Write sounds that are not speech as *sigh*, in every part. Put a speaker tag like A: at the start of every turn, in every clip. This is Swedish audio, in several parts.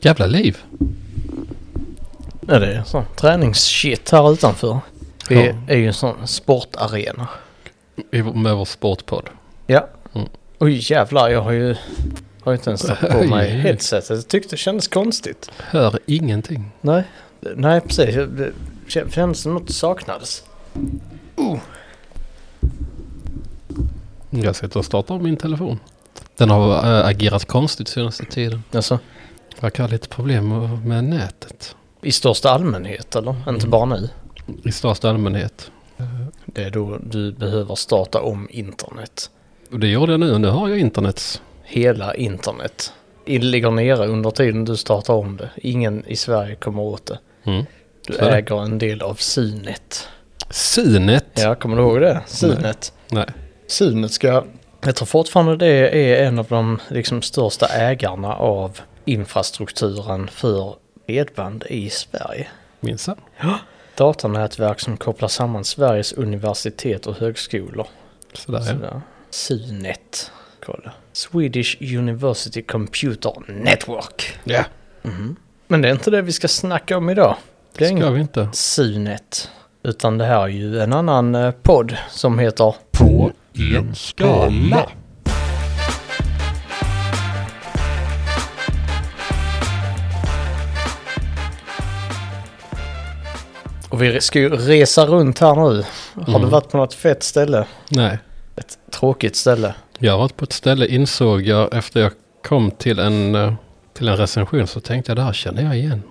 A: Jävla liv.
B: Ja, det är sån träningsshit här utanför. Vi
A: Ja.
B: är ju en sån sportarena.
A: I- Med vår sportpodd.
B: Ja.
A: Mm.
B: Oj jävlar, jag har ju, har ju inte ens satt på
A: *laughs* Oj.
B: mig headsetet. Jag tyckte det kändes konstigt.
A: Hör ingenting.
B: Nej, nej precis. Jag- Det kän- kändes som något saknades.
A: Jag sitter och startar om min telefon. Den har äh, agerat konstigt senaste tiden.
B: Alltså,
A: Verkar ha lite problem med- med nätet.
B: i största allmänhet eller? Inte
A: Mm.
B: bara nu.
A: I största allmänhet.
B: Det är då du behöver starta om internet.
A: Och det gjorde jag nu. Nu har jag internets.
B: Hela internet. Det ligger nere under tiden du startar om det. Ingen i Sverige kommer åt det.
A: Mm.
B: Du
A: Så är det.
B: äger en del av Synet.
A: Synet.
B: Ja, kommer du ihåg det? Synet.
A: Nej.
B: Synet ska... Jag tror fortfarande det är en av de liksom, största ägarna av infrastrukturen för bredband i Sverige.
A: Minsann.
B: Datanätverk som kopplar samman Sveriges universitet och högskolor.
A: Sådär ja.
B: Sådär. Synet. Kolla. Swedish University Computer Network.
A: Ja.
B: Men det är inte det vi ska snacka om idag. Det är
A: Ska
B: inget
A: vi inte?
B: Synet. Utan det här är ju en annan eh, podd som heter På
A: En skala.
B: Och vi ska ju resa runt här nu. Har du
A: Mm.
B: varit på något fett ställe?
A: Nej.
B: Ett tråkigt ställe?
A: Jag har varit på ett ställe insåg jag efter jag kom till en, eh, till en recension så tänkte jag det här känner jag igen.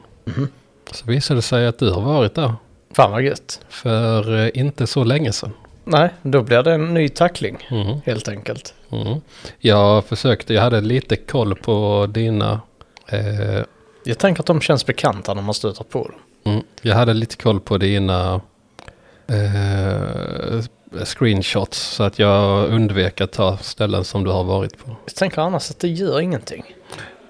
A: Så visade det sig att du har varit där
B: Fan vad gött.
A: för eh, inte så länge sedan.
B: Nej, då blir det en ny tackling
A: Mhm,
B: helt enkelt.
A: mhm. Jag försökte, jag hade lite koll på dina... Eh,
B: Jag tänker att de känns bekanta när man stöter på dem.
A: mm, jag hade lite koll på dina eh, screenshots så att jag undvek att ta ställen som du har varit på.
B: Jag tänker annars att det gör ingenting.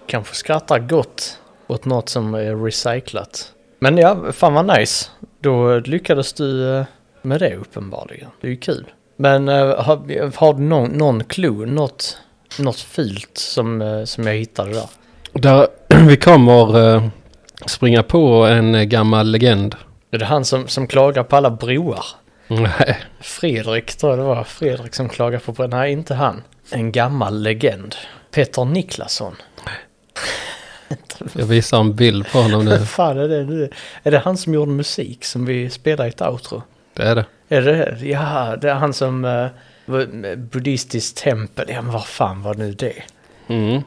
B: Kanske skrattar gott åt något som är recyclat. Men ja, fan vad nice. Då lyckades du eh, med det uppenbarligen. Det är ju kul. Men eh, har, har du någon, någon clue, något, något filt som, eh, som jag hittade där?
A: Där, *clears throat* vi kommer eh, springa på en eh, gammal legend.
B: Är det han som, som klagar på alla broar?
A: Nej.
B: Fredrik tror jag det var. Fredrik som klagar på broar. Nej, inte han. En gammal legend. Peter Niklasson.
A: Jag visar en bild på honom nu. *laughs*
B: Vad *laughs* fan är det nu? Är det han som gjorde musik som vi spelade i ett outro?
A: Det är det.
B: Är det Ja, det är han som... eh, var- buddhistiskt tempel. Ja, men vad fan var nu det?
A: Mm.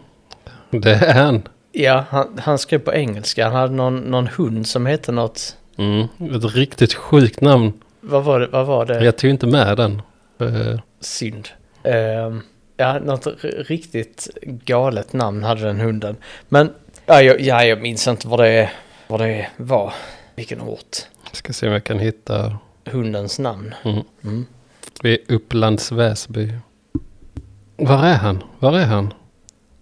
A: Det är han.
B: Ja, han, han skrev på engelska. Han hade någon, någon hund som hette något...
A: Mm. Ett riktigt sjukt namn.
B: Vad var det? Vad var det?
A: Jag tog inte med den. Eh,
B: Synd. Ehm, ja, något r- riktigt galet namn hade den hunden. Men ja, jag, ja, jag minns inte vad det, vad det var. Vilken ort.
A: Ska se om jag kan hitta.
B: Hundens namn.
A: Mm.
B: Mm.
A: Vi är Upplands Väsby. Var är han? Var är han?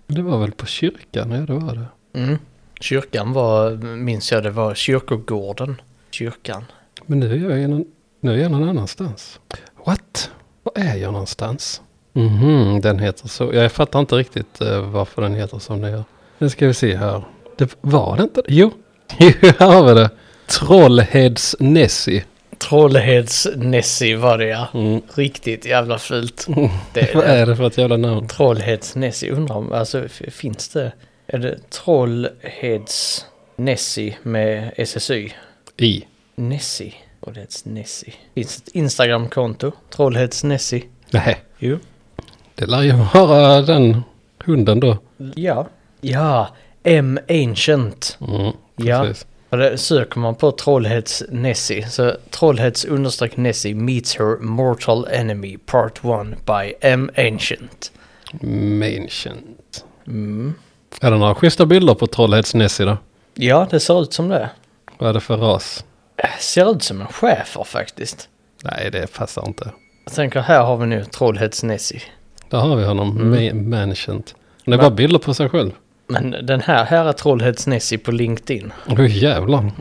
A: Det var väl på kyrkan? Ja, det var det.
B: Mm. Kyrkan var, minns jag det var, kyrkogården. Kyrkan.
A: Men nu är jag, i någon, nu är jag någon annanstans. What? Var är jag någonstans? Mhm, den heter så. Jag fattar inte riktigt eh, varför den heter som den gör. Nu ska vi se här. Det var det inte? Jo, *laughs* jo här har vi det. Trollheds Nessie.
B: Trollheds Nessie var det ja.
A: Mm.
B: Riktigt jävla fult. Det,
A: Vad
B: det.
A: är det för ett jävla namn?
B: Trollheds Nessie undrar om, alltså f- finns det? Är det Trollheds Nessie med SSY?
A: I.
B: Nessie. Trollhätts Nessie. Finns ett Instagramkonto. Trollhätts Nessie.
A: Nej,
B: Jo.
A: det lär ju vara den hunden då.
B: Ja. Ja. M Ancient.
A: Mm,
B: Ja.
A: precis.
B: Och det söker man på Trollhätts Nessie. Så Trollhätts understreck Nessie meets her mortal enemy part 1 by M Ancient.
A: Mancient.
B: Mm.
A: Är det några schyssta bilder på Trollheds Nessie då?
B: Ja, det ser ut som det.
A: Vad är det för ras?
B: Äh, Ser ut som en schäfer faktiskt.
A: Nej, det passar inte.
B: Jag tänker här har vi nu Trollhätts Nessie.
A: Där har vi honom, mm. Manchant. Det är bara bilder på sig själv.
B: Men den här, här är Trollhätts Nessie på LinkedIn. Mm.
A: Åh jävlar,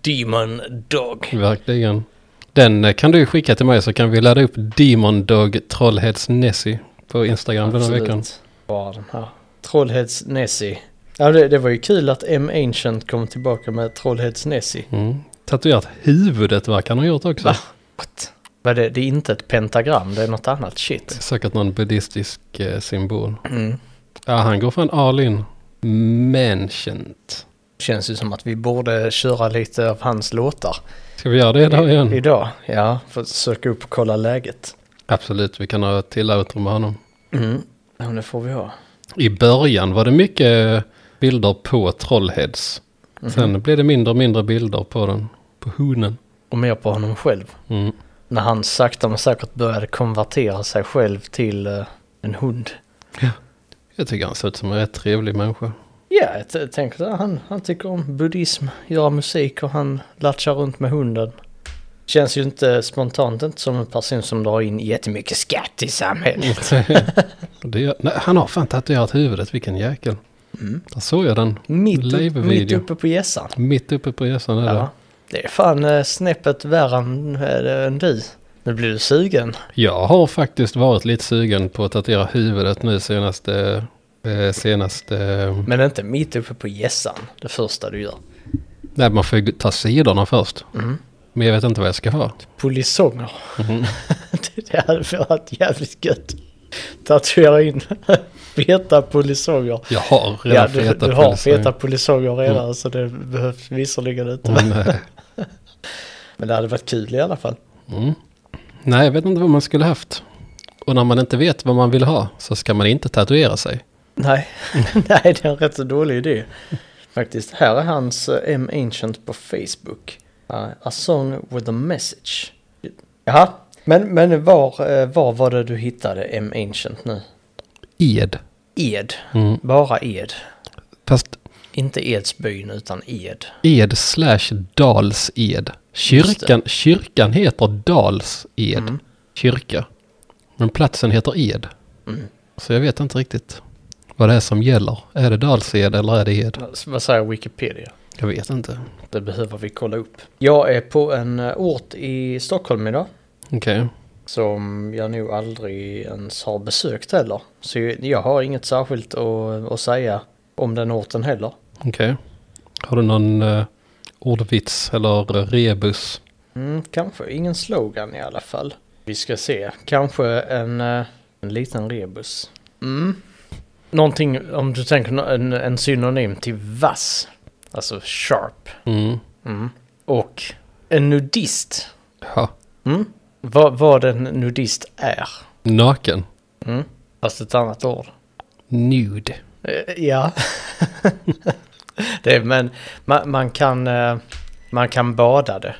B: Demon Dog.
A: verkligen. Den eh, kan du ju skicka till mig så kan vi ladda upp Demon Dog Trollhäds Nessie på Instagram den här veckan.
B: Bara den här. Trollhätts Nessie. Ja, det, det var ju kul att M. Ancient kom tillbaka med Trollhätts-Nessie.
A: Mm. Tatuerat huvudet verkar han ha gjort också.
B: Va? What? Vad är det, det är inte ett pentagram, det är något annat shit.
A: Säkert någon buddhistisk eh, symbol.
B: Mm.
A: Ja, han går för en all in. Mentioned.
B: Känns ju som att vi borde köra lite av hans låtar.
A: Ska vi göra det idag
B: I-
A: igen?
B: Idag, ja. För att söka upp och kolla läget.
A: Absolut, vi kan ha ett till outro med honom.
B: Mm. Ja, men det får vi ha.
A: I början var det mycket bilder på Trollheads.
B: Mm. Mhm.
A: Sen blev det mindre och mindre bilder på den. På honen.
B: Och mer på honom själv.
A: Mm.
B: När han sakta men säkert började konvertera sig själv till eh, en hund.
A: Jag tycker han ser ut som en rätt trevlig människa.
B: Ja, jag t- tänker att han, han tycker om buddhism, gör musik och han latchar runt med hunden. Känns ju inte spontant inte som en person som drar in jättemycket skatt i samhället.
A: det, nej, han har fan tatuerat huvudet, vilken jäkel. Där såg jag den.
B: Mitt, upp,
A: Live-video.
B: mitt uppe på gässan.
A: Mitt uppe på resan är det.
B: Ja, det är fan eh, snäppet värre än, eh, än du. Nu blir du sugen.
A: Jag har faktiskt varit lite sugen på att tatuera huvudet nu senaste... Eh, senaste... eh,
B: Men inte mitt uppe på gässan, det första du gör.
A: Nej, man får ju ta sidorna först.
B: Mm.
A: Men jag vet inte vad jag ska ha.
B: Polisonger. *laughs* Mm-hmm. det det hade varit jävligt gött. Tatuera in *laughs* feta polisonger.
A: Jag har redan
B: Ja, du,
A: feta
B: du har
A: pulser.
B: feta polisonger redan så det behövs visserligen inte.
A: Mm,
B: Men det hade varit kul i alla fall.
A: mm. Nej, jag vet inte vad man skulle haft. Och när man inte vet vad man vill ha så ska man inte tatuera sig.
B: Nej, *laughs* nej det är en rätt så dålig idé. Faktiskt, här är hans eh, M. Ancient på Facebook. Uh, a song with a message. Jaha, men, men var, eh, var var det du hittade M. Ancient nu?
A: Ed.
B: Ed,
A: Mm.
B: bara Ed.
A: Fast
B: Inte Edsbyn utan Ed.
A: Ed slash Dals-Ed. Kyrkan, kyrkan heter Dals-Ed.
B: Mm.
A: Kyrka. Men platsen heter Ed.
B: Mm.
A: Så jag vet inte riktigt vad det är som gäller. Är det Dals-Ed eller är det Ed?
B: Vad säger Wikipedia?
A: Jag vet inte.
B: Det behöver vi kolla upp. Jag är på en eh, ort i Stockholm idag.
A: Okej.
B: Som jag nog aldrig ens har besökt heller. Så jag har inget särskilt att, att säga om den orten heller.
A: Okej. Har du någon eh, ordvits eller eh, rebus?
B: Mm, kanske ingen slogan i alla fall. Vi ska se. Kanske en, eh, en liten rebus. Mm. Någonting om du tänker nå- en, en synonym till vass. Alltså sharp.
A: Mm.
B: Mm. Och en nudist.
A: Ja.
B: Mm. Vad, vad en nudist är.
A: Naken.
B: Mm. Fast ett annat ord.
A: Nude.
B: Eh, Ja. *laughs* det, är- men man, man, kan, eh, man kan bada det.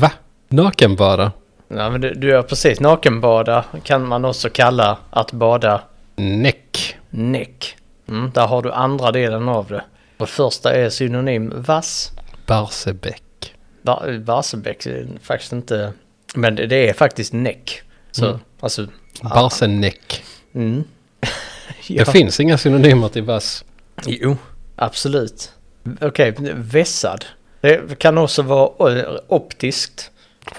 A: Va? Naken bara?
B: Ja, men du, du är precis nakenbada kan man också kalla att bada
A: Näck.
B: näck. Mm, där har du andra delen av det. Och första är synonym vass.
A: Barsebäck.
B: Ba- Barsebäck är faktiskt inte... Men det- det är faktiskt näck. Så,
A: Mm.
B: alltså...
A: Barsenäck.
B: Mm. *laughs*
A: Det finns inga synonymer till vass.
B: Jo, absolut. Okej, vässad. Det kan också vara eh, optiskt.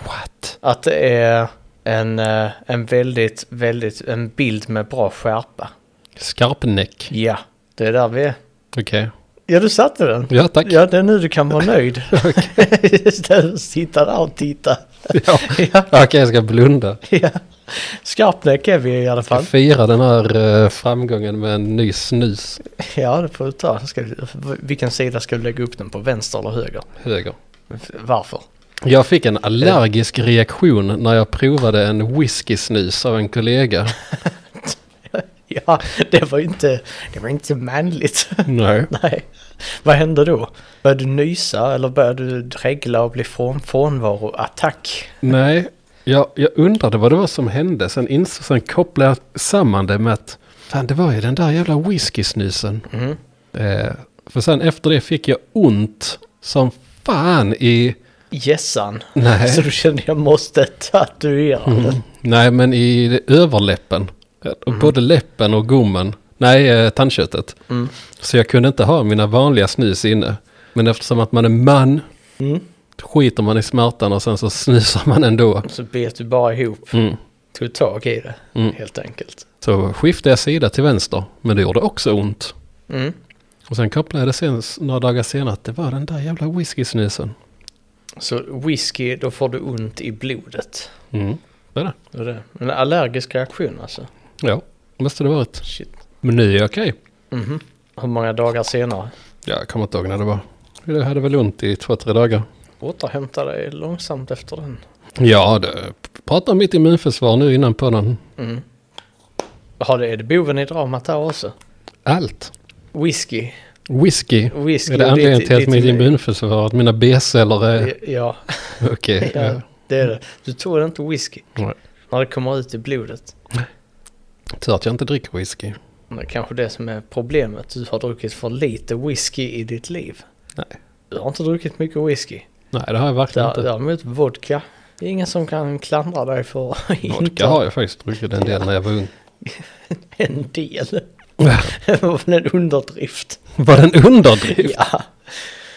A: What?
B: Att det är en, eh, en väldigt, väldigt, en bild med bra skärpa.
A: Skarpnäck.
B: Ja, det är där vi är.
A: Okej.
B: Ja, du satte den.
A: Ja, tack.
B: Ja, det är nu du kan *laughs* vara nöjd. *laughs* Istället för att sitta där och titta.
A: Ja.
B: Ja,
A: *laughs* Okej, jag ska blunda.
B: ja. Skarpnäck är vi i alla
A: Jag
B: fall.
A: firar den här eh, framgången med en ny snus.
B: Ja, det får du ta. Ska vi, vilken sida ska du lägga upp den på? Vänster eller höger?
A: Höger.
B: Varför?
A: Jag fick en allergisk reaktion när jag provade en whisky-snus av en kollega.
B: Ja, det var ju inte, det var inte manligt. *laughs*
A: Nej.
B: Nej. Vad hände då? Började du nysa eller började du dregla och bli från, frånvaroattack?
A: Nej, jag, jag undrade vad det var som hände. Sen, ins- sen kopplade jag samman det med att fan, det var ju den där jävla whisky-snusen.
B: Mm.
A: Eh, för sen efter det fick jag ont som fan i...
B: Gässan.
A: Nej. Mm.
B: Så du kände jag måste tatuera den.
A: Nej, men i överläppen. Och Både läppen och gommen. Nej, eh, tandköttet.
B: Mm.
A: Så jag kunde inte ha mina vanliga snus inne. Men eftersom att man är man
B: Mm.
A: skiter man i smärtan och sen så snusar man ändå.
B: Så bet du bara ihop.
A: Mm.
B: Tog tag i det
A: Mm.
B: helt enkelt.
A: Så skiftade jag sida till vänster, men det gjorde också ont.
B: Mm.
A: Och sen kopplade jag det sen, några dagar senare att det var den där jävla whisky-snusen.
B: Så whisky, då får du ont i blodet.
A: Mm. Det är det.
B: Det är det. En allergisk reaktion alltså.
A: Ja, måste det varit.
B: Shit.
A: Men nu är jag okej.
B: Mhm. Hur många dagar senare?
A: Ja, jag kommer inte ihåg när det var. Jag hade väl ont i två, tre dagar.
B: Återhämta dig långsamt efter den.
A: Ja, det pratar om mitt immunförsvar nu innan på den.
B: Mm. Har det, är det boven i dramat här också?
A: Allt.
B: Whisky.
A: Whisky.
B: Whisky
A: Är det
B: och
A: anledningen
B: ditt-
A: till att
B: ditt-
A: mitt immunförsvar, att mina B-celler är...
B: Ja,
A: Okej.
B: ja,
A: ja.
B: det är det. Du tål inte whisky
A: Nej.
B: när det kommer ut i blodet.
A: Tur att jag inte dricker whisky.
B: Det är kanske det som är problemet. Du har druckit för lite whisky i ditt liv.
A: Nej.
B: Du har inte druckit mycket whisky.
A: Nej, det har jag verkligen
B: Där,
A: inte.
B: däremot vodka. Det är ingen som kan klandra dig för att inte
A: Vodka
B: ha
A: har jag faktiskt druckit en del när jag var ung.
B: en del. *laughs* Det var väl en underdrift.
A: Var det en *laughs* underdrift?
B: Ja.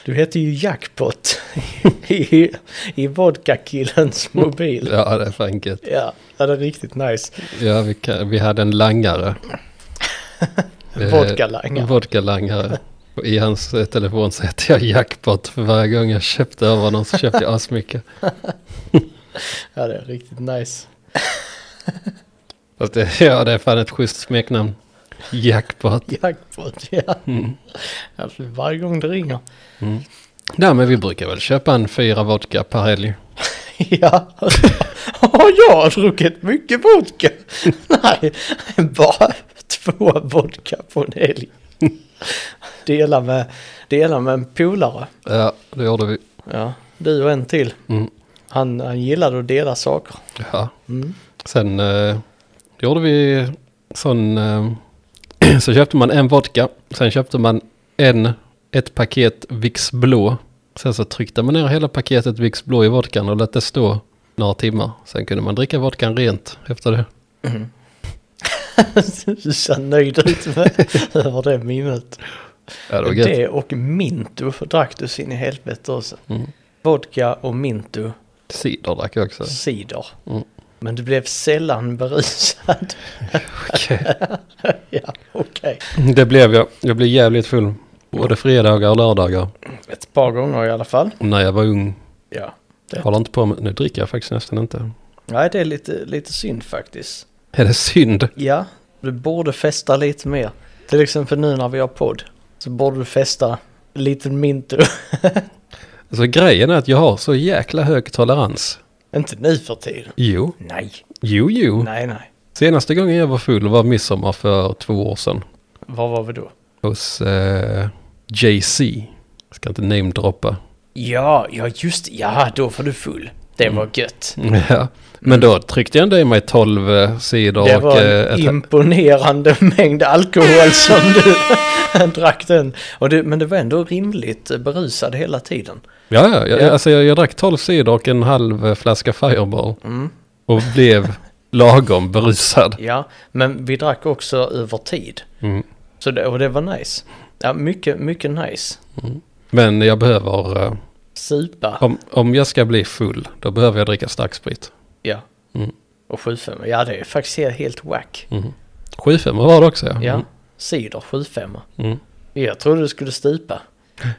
B: Du heter ju Jackpot *laughs* i, i vodka-killens
A: Mm.
B: mobil.
A: Ja, det är fan gött.
B: Ja, ja, det är riktigt nice.
A: Ja, vi, kan, vi hade en langare. Eh,
B: Vodka-langare.
A: Vodka-langare. Och I hans eh, telefon så hette jag Jackpot. För varje gång jag köpte över någon så köpte jag asmycket.
B: Ja, det är riktigt nice.
A: Fast det, ja, det är fan ett schysst smeknamn. Jackpot. Mm.
B: Jackpot, ja. Alltså, varje gång det ringer.
A: Nej, men vi brukar väl köpa en fyra vodka per helg.
B: *laughs* Ja, har jag druckit mycket
A: *laughs*
B: vodka? Nej, bara två vodka på en helg. Dela med, dela med en polare.
A: Ja, det gjorde vi.
B: Ja, du och en till.
A: Mm.
B: Han, han gillade att dela saker.
A: Ja.
B: Mm. *laughs*
A: Sen eh, gjorde vi sån... Eh, *clears throat* så köpte man en vodka. Sen köpte man en, ett paket Vicks Blå. Sen så tryckte man ner hela paketet Vicks Blå i vodkan och lät det stå några timmar. Sen kunde man dricka vodkan rent efter det.
B: Du ser nöjd ut med
A: *laughs*
B: över det minnet.
A: Ja, det var gött.
B: Det och Mintu drack du sin i helvete också.
A: Mm.
B: Vodka och Mintu,
A: Cider drack jag också.
B: cider.
A: Mm.
B: Men du blev sällan berusad.
A: *laughs*
B: *laughs*
A: Okej.
B: ja, okej.
A: Det blev jag. Jag blev jävligt full. Både fredagar och lördagar.
B: Ett par gånger i alla fall.
A: När jag var ung.
B: Ja.
A: Jag håller inte på med... Nu dricker jag faktiskt nästan inte.
B: Nej, det är lite, lite synd faktiskt.
A: Är det synd?
B: Ja, du borde festa lite mer. Till exempel nu när vi har podd. Så borde du festa lite Mintu. *laughs*
A: Alltså grejen är att jag har så jäkla hög tolerans.
B: Inte nu för tiden.
A: Jo,
B: Nej,
A: jo, jo.
B: nej, nej.
A: Senaste gången jag var full var midsommar för två år sedan.
B: Var var vi då?
A: Hos eh, JC. Jag ska inte namedroppa.
B: Ja, ja just ja, då var du full. Det var gött.
A: *laughs* Ja. Men då tryckte jag ändå i mig 12 eh, sidor
B: Det
A: och
B: var
A: eh,
B: en
A: ett-
B: imponerande *laughs* mängd alkohol som du *laughs* drack den. Och det, men det var ändå rimligt berusad hela tiden.
A: Ja, ja, jag,
B: Ja.
A: Alltså jag, jag drack 12 sidor och en halv eh, flaska Fireball.
B: Mm.
A: Och blev
B: *laughs*
A: lagom berusad.
B: Ja, men vi drack också över tid.
A: Mm.
B: Så det, och det var nice. Ja, mycket, mycket nice.
A: Men jag behöver, eh,
B: Supa.
A: om, om jag ska bli full, då behöver jag dricka starksprit.
B: Ja.
A: Mm.
B: Och 75. Ja, det är faktiskt helt- helt wack.
A: 7-5 var det också
B: Ja. Cider 75.
A: Mm.
B: Jag trodde du skulle stupa.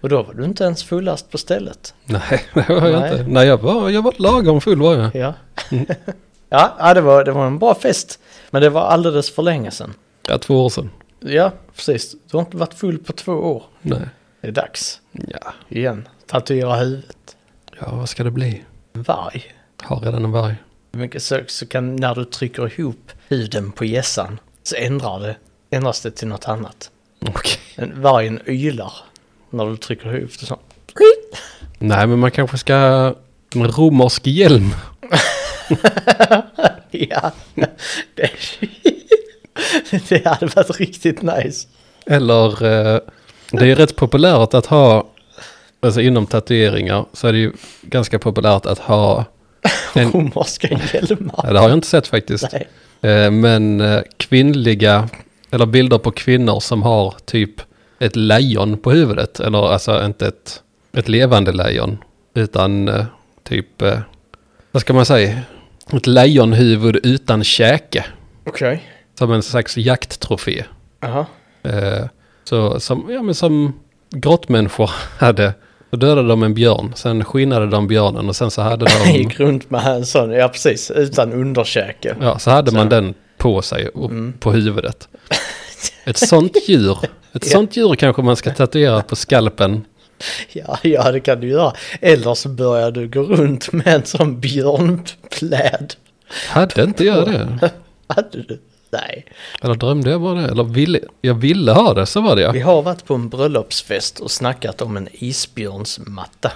B: Och då var du inte ens fullast på stället.
A: Nej, *laughs* det var jag
B: Nej.
A: inte. Nej, jag var, jag var lagom full var jag.
B: Ja. *laughs* ja, ja, det var, det var en bra fest. Men det var alldeles för länge sedan.
A: Ja, två år sedan.
B: Ja, precis. Du har inte varit full på två år.
A: Nej.
B: Det är dags.
A: Ja.
B: Igen. Tatuera huvudet.
A: ja, vad ska det bli?
B: Varg.
A: Har redan en varg.
B: Hur mycket sök så kan när du trycker ihop huden på gässan så ändrar det, ändras det till något annat.
A: Okej.
B: En, vargen ylar när du trycker ihop det så. *laughs*
A: Nej, men man kanske ska... En romersk hjälm.
B: Ja, det, *laughs* det hade varit riktigt nice.
A: Eller... Eh, det är ju rätt populärt att ha... Alltså inom tatueringar så är det ju ganska populärt att ha... En, *laughs*
B: Romerska
A: ja,
B: hjälmar.
A: det har jag inte sett faktiskt.
B: Nej.
A: Eh, men eh, kvinnliga... Eller bilder på kvinnor som har typ ett lejon på huvudet. Eller alltså inte ett, ett levande lejon. Utan eh, typ... Eh, vad ska man säga? Ett lejonhuvud utan käke.
B: Okej.
A: Som en slags jakttrofé.
B: Jaha.
A: Eh, Så som, ja, men som grottmänniskor *laughs* hade. Så dödade de en björn, sen skinnade de björnen och sen så hade de...
B: Gick runt med en sån, ja precis, utan underkäke.
A: Ja, så hade man
B: Så.
A: den på sig och
B: Mm.
A: på
B: *laughs*
A: huvudet. Ett sånt djur, ett
B: Ja.
A: sånt djur kanske man ska tatuera på skalpen.
B: Ja, ja, det kan du göra. Eller så börjar du gå runt med en sån björnpläd.
A: Hade inte jag det?
B: *laughs* Hade du? Nej.
A: Eller drömde jag bara det? Eller ville jag ville ha det, så var det
B: Vi
A: ja.
B: har varit på en bröllopsfest och snackat om en isbjörnsmatta.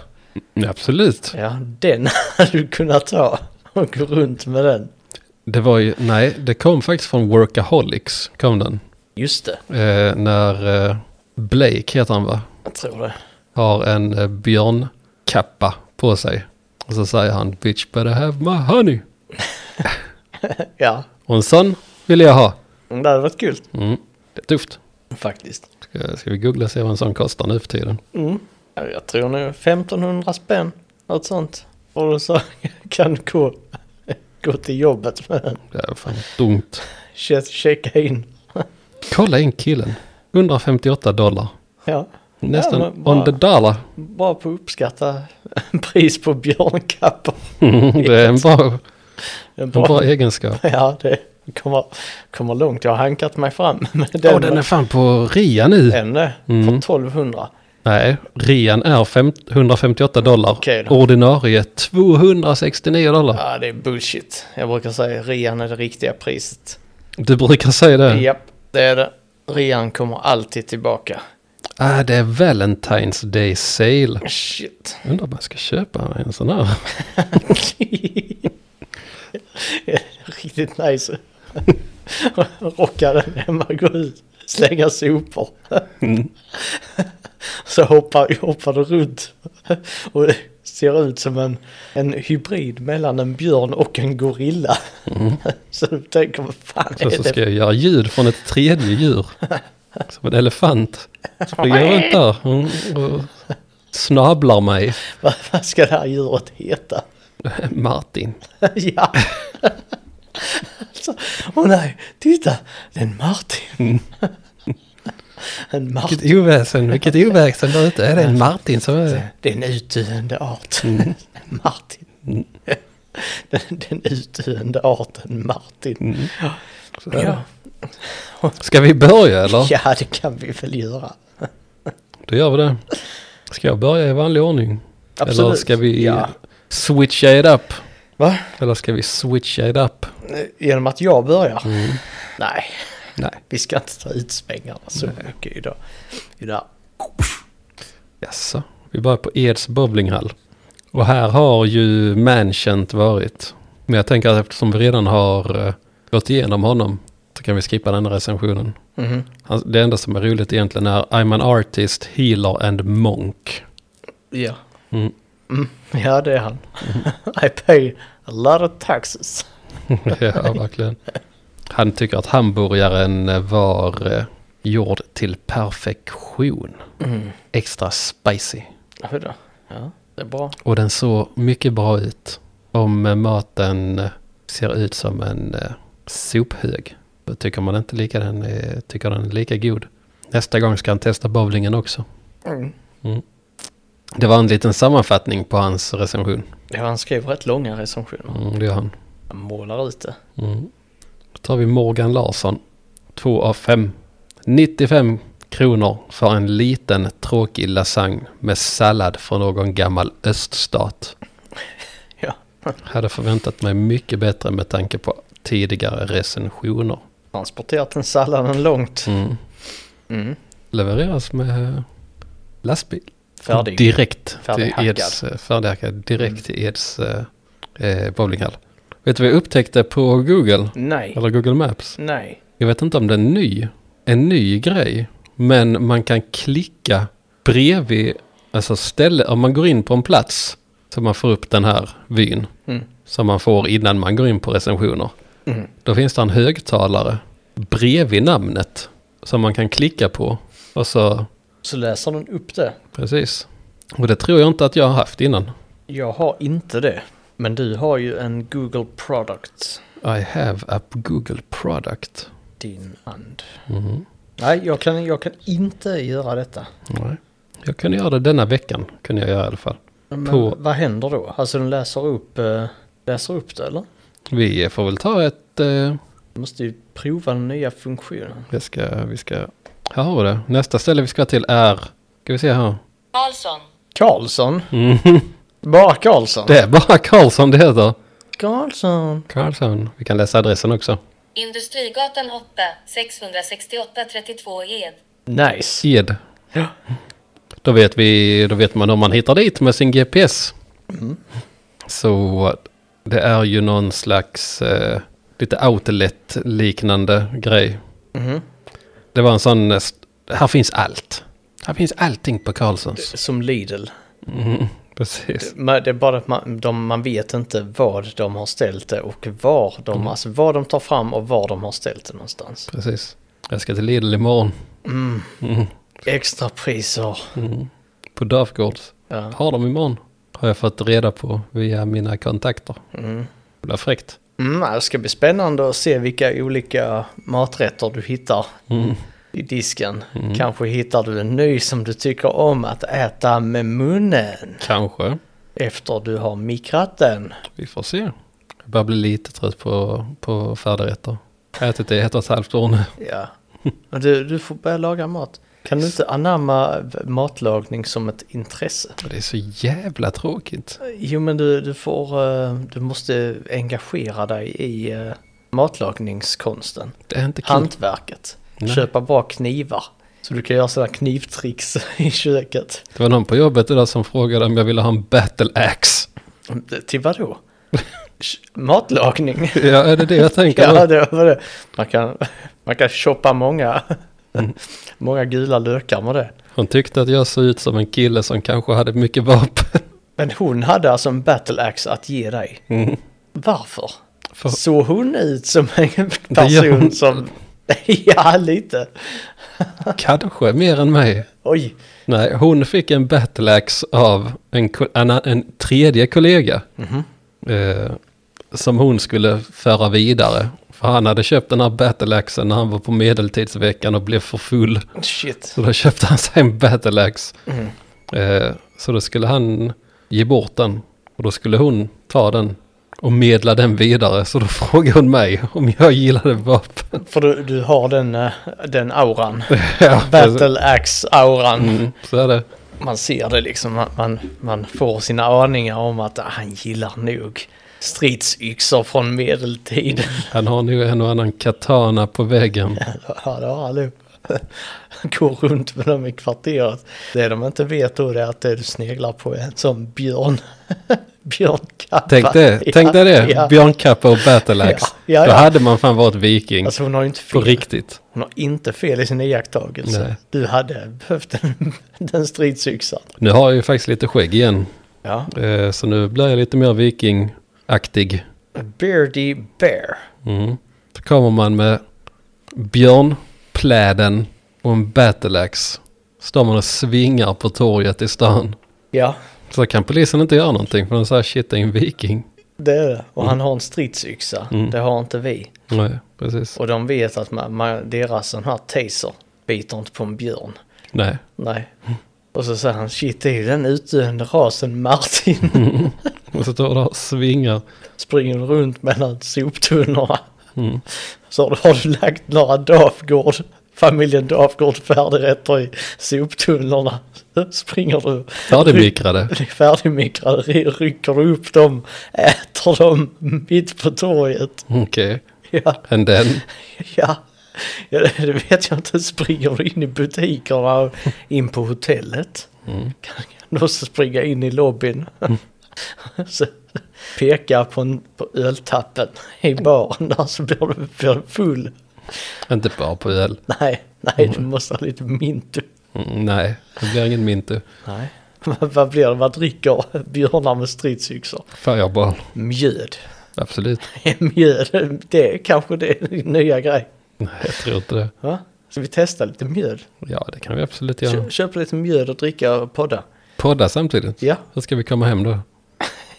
A: Ja, Absolut.
B: Ja, den *laughs* hade du kunnat ta och gå runt med den.
A: Det var ju, nej, det kom faktiskt från Workaholics, kom den.
B: Just det,
A: Eh, när eh, Blake heter han va?
B: jag tror det.
A: har en eh, björnkappa på sig. Och så säger han bitch better have my honey.
B: Ja,
A: Och en sån vill jag ha.
B: det hade varit kul
A: Mm. Det är tufft.
B: faktiskt.
A: Eh, Ska, ska vi googla och se vad en sån kostar nu för tiden?
B: Mm. Ja, jag tror nu 1500 spänn, något sånt. Och då så *laughs* kan du gå, gå till jobbet med den.
A: Det är fan dumt.
B: Che- Checka in.
A: Kolla in killen. 158 dollar.
B: Ja.
A: Nästan
B: Ja, men
A: on
B: bara-
A: the dollar. *laughs*
B: Bara på att uppskatta *laughs* pris på *laughs* björnkappor.
A: det är en bra,
B: En
A: en
B: bra-
A: bra egenskap.
B: Ja, det kommer, kommer långt. Jag har hankat mig fram. Men
A: Ja,
B: den,
A: den är fan på rea nu.
B: den är för
A: Mm.
B: 1200.
A: Nej, rean är fem- 158 dollar.
B: Okej då.
A: Ordinarie 269 dollar.
B: Ja, det är bullshit. Jag brukar säga rean är det riktiga priset.
A: Du brukar säga det.
B: Japp, det är det. Rean kommer alltid tillbaka.
A: Ah, det är Valentine's Day Sale.
B: Shit. *laughs*
A: Undrar om jag ska köpa en sån här.
B: Riktigt nice. *laughs* Rocka den hemma, gå ut, slänga sopor.
A: Mm.
B: *laughs* Så hoppar, hoppar du runt *laughs* och det ser ut som en, en hybrid mellan en björn och en gorilla. *laughs* Så du tänker, vad fan
A: Mm. Så,
B: är
A: så ska
B: *laughs* det?
A: jag göra ljud från ett tredje
B: *laughs*
A: djur. Som en elefant. Springer runt där mm, och snablar mig.
B: Vad, vad ska det här djuret heta? *laughs*
A: Martin.
B: ja. alltså, åh nej, titta, det är en Martin. *laughs* en
A: Mm.
B: Martin.
A: Vilket oväsen, vilket oväsen där ute. Är det Mm. en Martin som är...
B: Det är en utdöende art. *laughs* Martin.
A: Mm.
B: *laughs* den, den utdöende arten Martin.
A: Mm. så är
B: Ja.
A: det? Ska vi börja eller?
B: ja, det kan vi väl göra.
A: Då gör vi det. Ska jag börja i vanlig ordning? Eller
B: Absolut.
A: ska vi
B: Ja.
A: switcha it up?
B: Va?
A: Eller ska vi switcha it up?
B: Genom att jag börjar? Nej,
A: Mm. Nej.
B: vi ska inte ta ut svängarna så mycket idag. idag.
A: Jaså, vi börjar på Eds bowlinghall. Och här har ju Manchant varit. Men jag tänker att eftersom vi redan har eh, gått igenom honom så kan vi skippa den här recensionen.
B: Mhm.
A: Han- Det enda som är roligt egentligen är I'm an artist, healer and *laughs* monk.
B: Ja.
A: Mm.
B: Mm. *laughs* ja, det är han. I pay a lot of taxes.
A: ja, verkligen. Han tycker att hamburgaren eh, var eh, gjord till perfektion. Extra spicy.
B: Hur Mm. då? Ja, det är bra.
A: Och den såg mycket bra ut. Om eh, maten eh, ser ut som en eh, sophög. Då tycker man inte lika den, är- tycker den är lika god. Nästa gång ska han testa bowlingen också.
B: Mm.
A: Det var en liten sammanfattning på hans recension.
B: Ja, han skrev rätt långa recensioner.
A: Mm, det gör han.
B: Han målar ut det.
A: Mm. Då tar vi Morgan Larsson. Två av fem. 95 kronor för en liten tråkig lasagne med sallad från någon gammal öststat.
B: *laughs* Ja.
A: Hade förväntat mig mycket bättre med tanke på tidigare recensioner.
B: Transporterat den salladen långt.
A: Mm.
B: Mm.
A: Levereras med eh, lastbil.
B: Färdig.
A: Direkt till
B: Färdighackad. Mm.
A: Eds, eh, färdighackad. Direkt till Eds eh, eh, bowlinghall. Vet du vad jag upptäckte på Google?
B: Nej.
A: Eller Google Maps?
B: Nej.
A: Jag vet inte om det är en ny, en ny grej. Men man kan klicka bredvid, alltså ställe, om man går in på en plats så man får upp den här vyn.
B: Mm.
A: Som man får innan man går in på recensioner.
B: Mm.
A: Då finns det en högtalare bredvid namnet som man kan klicka på. Och så,
B: Så läser den upp det.
A: precis. Och det tror jag inte att jag har haft innan.
B: Jag har inte det. Men du har ju en Google Product.
A: I have a Google product.
B: Din hand.
A: Mhm.
B: Nej, jag kan, jag kan inte göra detta.
A: Nej. Jag kunde göra det denna veckan. Kunde jag göra i alla fall.
B: Men
A: På-
B: vad händer då? Alltså den läser upp, eh, läser upp det eller?
A: Vi får väl ta ett... Eh,
B: Du måste ju prova den nya funktionen.
A: vi, ska, vi ska... Här har vi det. Nästa ställe vi ska till är... Ska vi se här.
C: Karlsson.
B: Karlsson?
A: Mhm.
B: Bara Karlsson?
A: Det är bara Karlsson det heter.
B: Karlsson.
A: Karlsson. Vi kan läsa adressen också.
C: Industrigatan 8, 668 32 Ed.
B: Nice.
A: Ed.
B: Ja.
A: Då vet, vi, då vet man om man hittar dit med sin GPS. Så det är ju någon slags eh, lite outlet-liknande grej.
B: Mhm.
A: Det var en sån, eh, st- här finns allt. Här finns allting på Karlssons.
B: Som Lidl.
A: Mhm, precis.
B: Men Det är bara att man, de, man vet inte vad de har ställt det och var de, alltså vad de tar fram och var de har ställt det någonstans.
A: precis. Jag ska till Lidl imorgon
B: Extra priser.
A: på Dörfgårds.
B: Ja.
A: Har de imorgon? Har jag fått reda på via mina kontakter. Mm. Det blir fräckt.
B: Mm, det ska bli spännande att se vilka olika maträtter du hittar
A: Mm.
B: i disken. Kanske hittar du en ny som du tycker om att äta med munnen
A: Kanske.
B: efter du har mikrat den.
A: Vi får se. Jag börjar bli lite trött på, på färdigrätter. Jag har ätit det i ett och ett halvt år nu.
B: Ja. Men Du, du får börja laga mat. Kan du inte anamma matlagning som ett intresse?
A: Det är så jävla tråkigt.
B: Jo men du, du får, eh, du måste engagera dig i eh, matlagningskonsten,
A: Det är inte kul.
B: hantverket,
A: Nej.
B: köpa bra knivar. Så du kan göra sådana knivtricks i köket.
A: Det var någon på jobbet idag som frågade om jag ville ha en battle axe.
B: Till vadå? K- *laughs* Matlagning?
A: Ja, är det det jag
B: *laughs*
A: tänker?
B: Ja,
A: ja,
B: det var det. Man kan, man kan shoppa många, Mm. många gula lökar med det.
A: Hon tyckte att jag såg ut som en kille som kanske hade mycket vapen. *laughs*
B: Men hon hade alltså en battle axe att ge dig. Varför?
A: Mm. För-
B: Såg hon ut som en *laughs*
A: gör hon.
B: person som... *laughs* ja, lite.
A: Kanske mer än mig.
B: Oj.
A: Nej, hon fick en battle axe av en, ko- en, en tredje kollega. Eh, som hon skulle föra vidare. För han hade köpt den här battle axen när han var på medeltidsveckan och blev för full.
B: Shit.
A: Så då köpte han sig en battle axe. Eh, så då skulle han ge bort den. Och då skulle hon ta den och medla den vidare. Så då *laughs* frågade hon mig om jag gillade vapen.
B: För du, du har den, eh,
A: *laughs*
B: den auran.
A: Ja,
B: *laughs* Battle Axe-auran.
A: Mm, så är det.
B: Man ser det liksom. man- Man, man får sina aningar om att ah, han gillar nog stridsyxor från medeltiden.
A: Han har nu en och annan katana på väggen.
B: ja, det har han nog. *laughs* Går runt med dem i kvarteret. Det de inte vet då det är att det du sneglar på är en sån björn. *laughs* Björnkappa.
A: Tänk det,
B: Ja,
A: tänk dig det.
B: ja.
A: Björnkappa och battle axe.
B: Ja, ja,
A: Då
B: ja.
A: hade man fan varit viking.
B: Alltså hon har ju inte
A: på
B: fel.
A: riktigt.
B: Hon har inte fel i sin iakttagelse.
A: Nej.
B: Du hade behövt *laughs* den, den stridsyxan.
A: Nu har jag ju faktiskt lite skägg igen.
B: Ja.
A: Eh, Så nu blir jag lite mer vikingaktig.
B: Beardy Bear.
A: Mm. Då kommer man med björnpläden och en battle axe. Står man och svingar på torget i stan.
B: Ja,
A: Så kan polisen inte göra någonting för de säger shit det är en viking.
B: det är det. Och han
A: Mm.
B: har en stridsyxa. Det har inte vi.
A: Nej, precis.
B: Och de vet att man, man, deras sån här taser biter inte på en björn.
A: Nej.
B: Nej. Och så säger han shit det är ju den utdöende rasen Martin. *laughs*
A: Och så står där och svingar.
B: Springer runt mellan soptunnorna. *laughs* Så har du lagt några Dafgård, familjen Dafgård färdigrätter i soptunnorna. *laughs* Springer du *laughs*
A: Färdigmikrade.
B: blir färdigmikrade, ry- rycker upp dem, äter dem mitt på torget. *laughs*
A: Okej.
B: Ja,
A: And then.
B: *laughs* ja. ja det- det vet jag inte. Springer du in i butikerna och in på hotellet? Kan kan du också springa in i lobbyn? *laughs* Så peka på, en, på öltappen i baren där så blir du blir du full.
A: Inte bara på öl.
B: Nej, nej, du måste ha lite mint.
A: Mm, nej, det blir ingen mintu.
B: Nej. Vad blir det? Vad dricker björnar med stridsyxor?
A: Fireball.
B: Mjöd. *laughs*
A: Absolut.
B: Mjöd, det är kanske det är din nya grej.
A: Nej, jag tror inte det.
B: Va? Ska vi testa lite mjöd?
A: Ja, det kan vi absolut
B: Kö,
A: göra.
B: köp lite mjöd och dricka och podda.
A: Podda samtidigt.
B: Ja,
A: Hur ska vi komma hem då?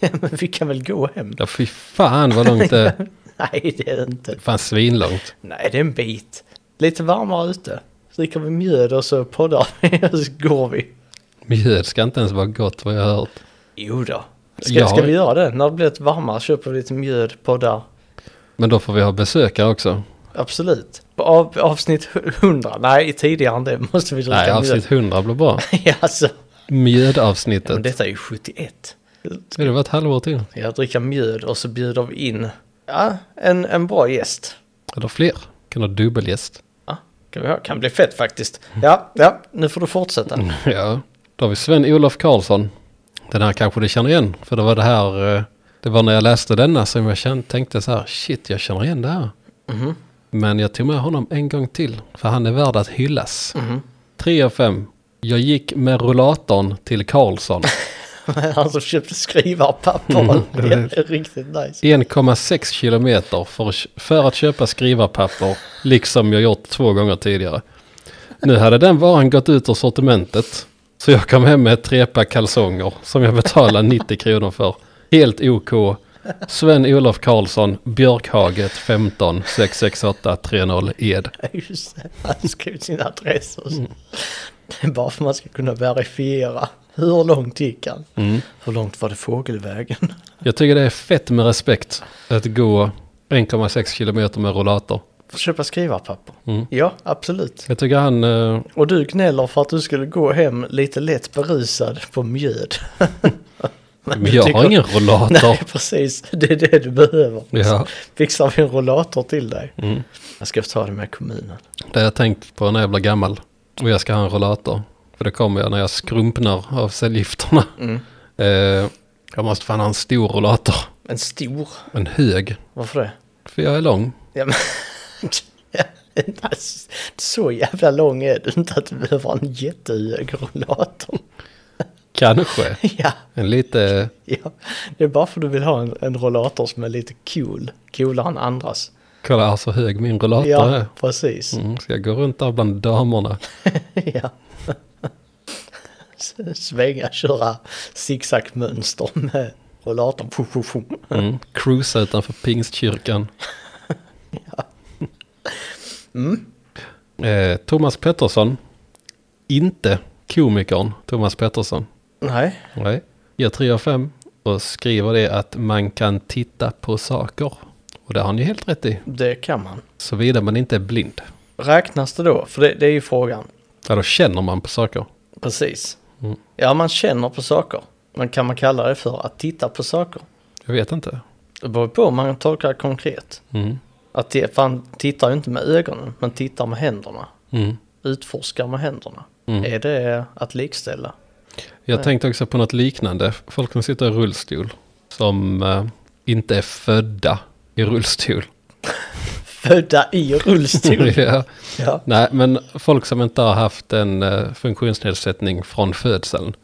B: *laughs* men vi kan väl gå hem då?
A: Ja, fy fan vad långt det *laughs* är.
B: *laughs* Nej, det är det inte.
A: Fan svinlångt.
B: Nej, det är en bit. Lite varmare ute. dricker vi mjöd och så poddar vi *laughs* och så går vi.
A: Mjöd ska inte ens vara gott vad jag har hört.
B: Jo då. Ska,
A: Ja.
B: ska vi göra det? När det blir lite varmare köper vi lite mjöd, poddar.
A: Men då får vi ha besökare också.
B: Absolut. Av, avsnitt 100? Nej, tidigare än det måste vi dricka
A: Nej,
B: mjöd.
A: avsnitt 100 blir *laughs* bra.
B: *laughs* ja, alltså. Men
A: Mjödavsnittet.
B: detta är ju 71.
A: Ska det vara ett halvår till?
B: Jag dricker mjöd och så bjuder vi in ja, en, en bra gäst.
A: Eller fler? Kan ha dubbelgäst.
B: Ja, kan, vi ha. kan bli fett faktiskt. *laughs* Ja, ja, nu får du fortsätta.
A: *laughs* Ja, då har vi Sven-Olof Karlsson. Den här kanske du känner igen, för det var det här, eh, det var när jag läste denna som jag kände, tänkte så här, shit jag känner igen det här. Men jag tog med honom en gång till, för han är värd att hyllas. Tre av fem. Jag gick med rullatorn till Karlsson.
B: *laughs* Han som köpte skrivarpapper.
A: Mm,
B: *laughs* det är riktigt nice.
A: 1,6 kilometer för, för att köpa skrivarpapper, liksom jag gjort två gånger tidigare. Nu hade den varan gått ut ur sortimentet, så jag kom hem med ett trepack kalsonger som jag betalade 90 kronor för. Helt OK. Sven-Olof Karlsson, Björkhaget 15 668 30 Ed.
B: Ja, Just det. Han skrev sin adress och så.
A: Mm.
B: Det är bara för att man ska kunna verifiera. Hur långt gick han?
A: Mm.
B: Hur långt var det fågelvägen? *laughs*
A: Jag tycker det är fett med respekt att gå 1,6 kilometer med rollator.
B: För att köpa skrivarpapper?
A: Mm.
B: Ja, absolut.
A: Jag tycker han, eh,
B: Och du gnäller för att du skulle gå hem lite lätt berusad på mjöd. *laughs* Men
A: men jag har ingen rollator.
B: *laughs* Nej, precis. Det är det du behöver.
A: Ja. Mm.
B: Fixar vi en rollator till dig? Jag ska ta det med kommunen.
A: Det har jag tänkt på när jag blir gammal. Och jag ska ha en rollator. För det kommer jag när jag skrumpnar av cellgifterna. *laughs* Eh, jag måste fan ha en stor rollator.
B: En stor.
A: En hög.
B: Varför det?
A: För jag är lång.
B: Ja, men... *laughs* Alltså, Så jävla lång är du inte att du behöver ha en jättehög rollator.
A: Kanske.
B: Ja,
A: En lite...
B: ja. Det är bara för att du vill ha en, en rollator som är lite cool. Coolare än andras.
A: Kolla här så hög min rollator
B: Ja,
A: är.
B: precis.
A: Mm, ska jag gå runt där bland damerna?
B: *laughs* Ja. *laughs* Svänga, köra zigzagmönster med rollatorn. Fum, fum, fum.
A: Mm. Cruisa utanför pingstkyrkan. Eh, Thomas Pettersson. Inte komikern Thomas Pettersson.
B: Nej.
A: Nej. Ger 3 av 5 och skriver det att man kan titta på saker. Och det har ni helt rätt i.
B: Det kan man.
A: Såvida man inte är blind.
B: Räknas det då? För det, det är ju frågan.
A: Ja, då känner man på saker.
B: Precis. Ja, man känner på saker. Men kan man kalla det för att titta på saker?
A: Jag vet inte.
B: Det beror på om man tolkar det konkret.
A: Mm.
B: Att det, för man tittar ju inte med ögonen, men tittar med händerna.
A: Mm.
B: Utforskar med händerna. Är det att likställa?
A: Jag tänkte också på något liknande. Folk som sitter i rullstol. Som eh, inte är födda i *laughs* rullstol.
B: Födda i rullstol?
A: *laughs* ja.
B: ja.
A: Nej, men folk som inte har haft en eh, funktionsnedsättning från födseln.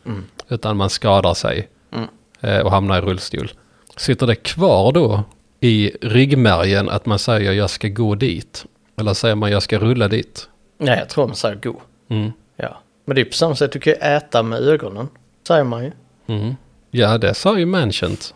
A: Utan man skadar sig eh, och hamnar i rullstol. Sitter det kvar då i ryggmärgen att man säger jag ska gå dit? Eller säger man jag ska rulla dit? Mm,
B: Nej, jag tror man säger go. Ja. Men det är på samma sätt, du kan ju äta med ögonen. Säger man ju.
A: Mm. Ja, det sa ju Manchant.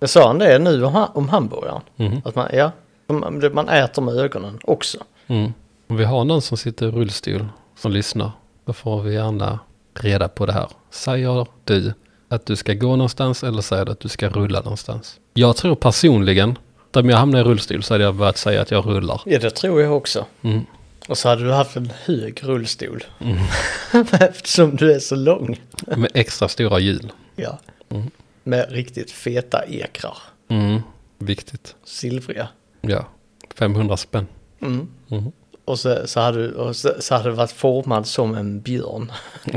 B: Jag sa han det nu om, ha- om hamburgaren. Att man, ja, man, man äter med ögonen också.
A: Mm. Om vi har någon som sitter i rullstol som lyssnar, då får vi gärna reda på det här. Säger du att du ska gå någonstans eller säger du att du ska rulla någonstans? Jag tror personligen, om jag hamnar i rullstol så hade jag börjat säga att jag rullar.
B: Ja, det tror jag också. Och så hade du haft en hög rullstol. *laughs* Eftersom du är så lång.
A: Med extra stora hjul.
B: Ja. Med riktigt feta ekrar.
A: Mm. Viktigt.
B: Silvriga.
A: Ja, 500 spänn.
B: Och, så, så, hade, du- och så, så hade du varit formad som en björn. *laughs*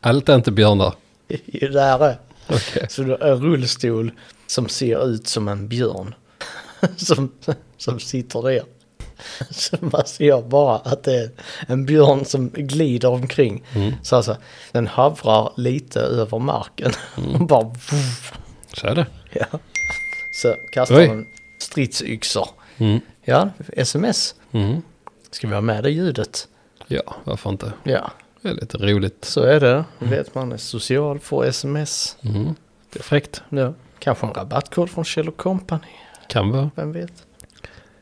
A: Allt är inte björnar.
B: I det här är.
A: Okej.
B: Så du har en rullstol som ser ut som en björn. *laughs* Som, som sitter där. *laughs* Så man ser bara att det är en björn som glider omkring. Så alltså, den havrar lite över marken. Och *laughs* bara... vuff.
A: Så är det.
B: Ja. Så kastar
A: Oj.
B: den stridsyxor.
A: Mm.
B: Ja, sms. Ska vi ha med det ljudet?
A: Ja, varför inte?
B: Ja,
A: Det är lite roligt.
B: så är det. Vet man är social, får sms.
A: Fräckt.
B: Ja. Kanske en rabattkod från Kjell Company.
A: Kan vara.
B: Vem vet?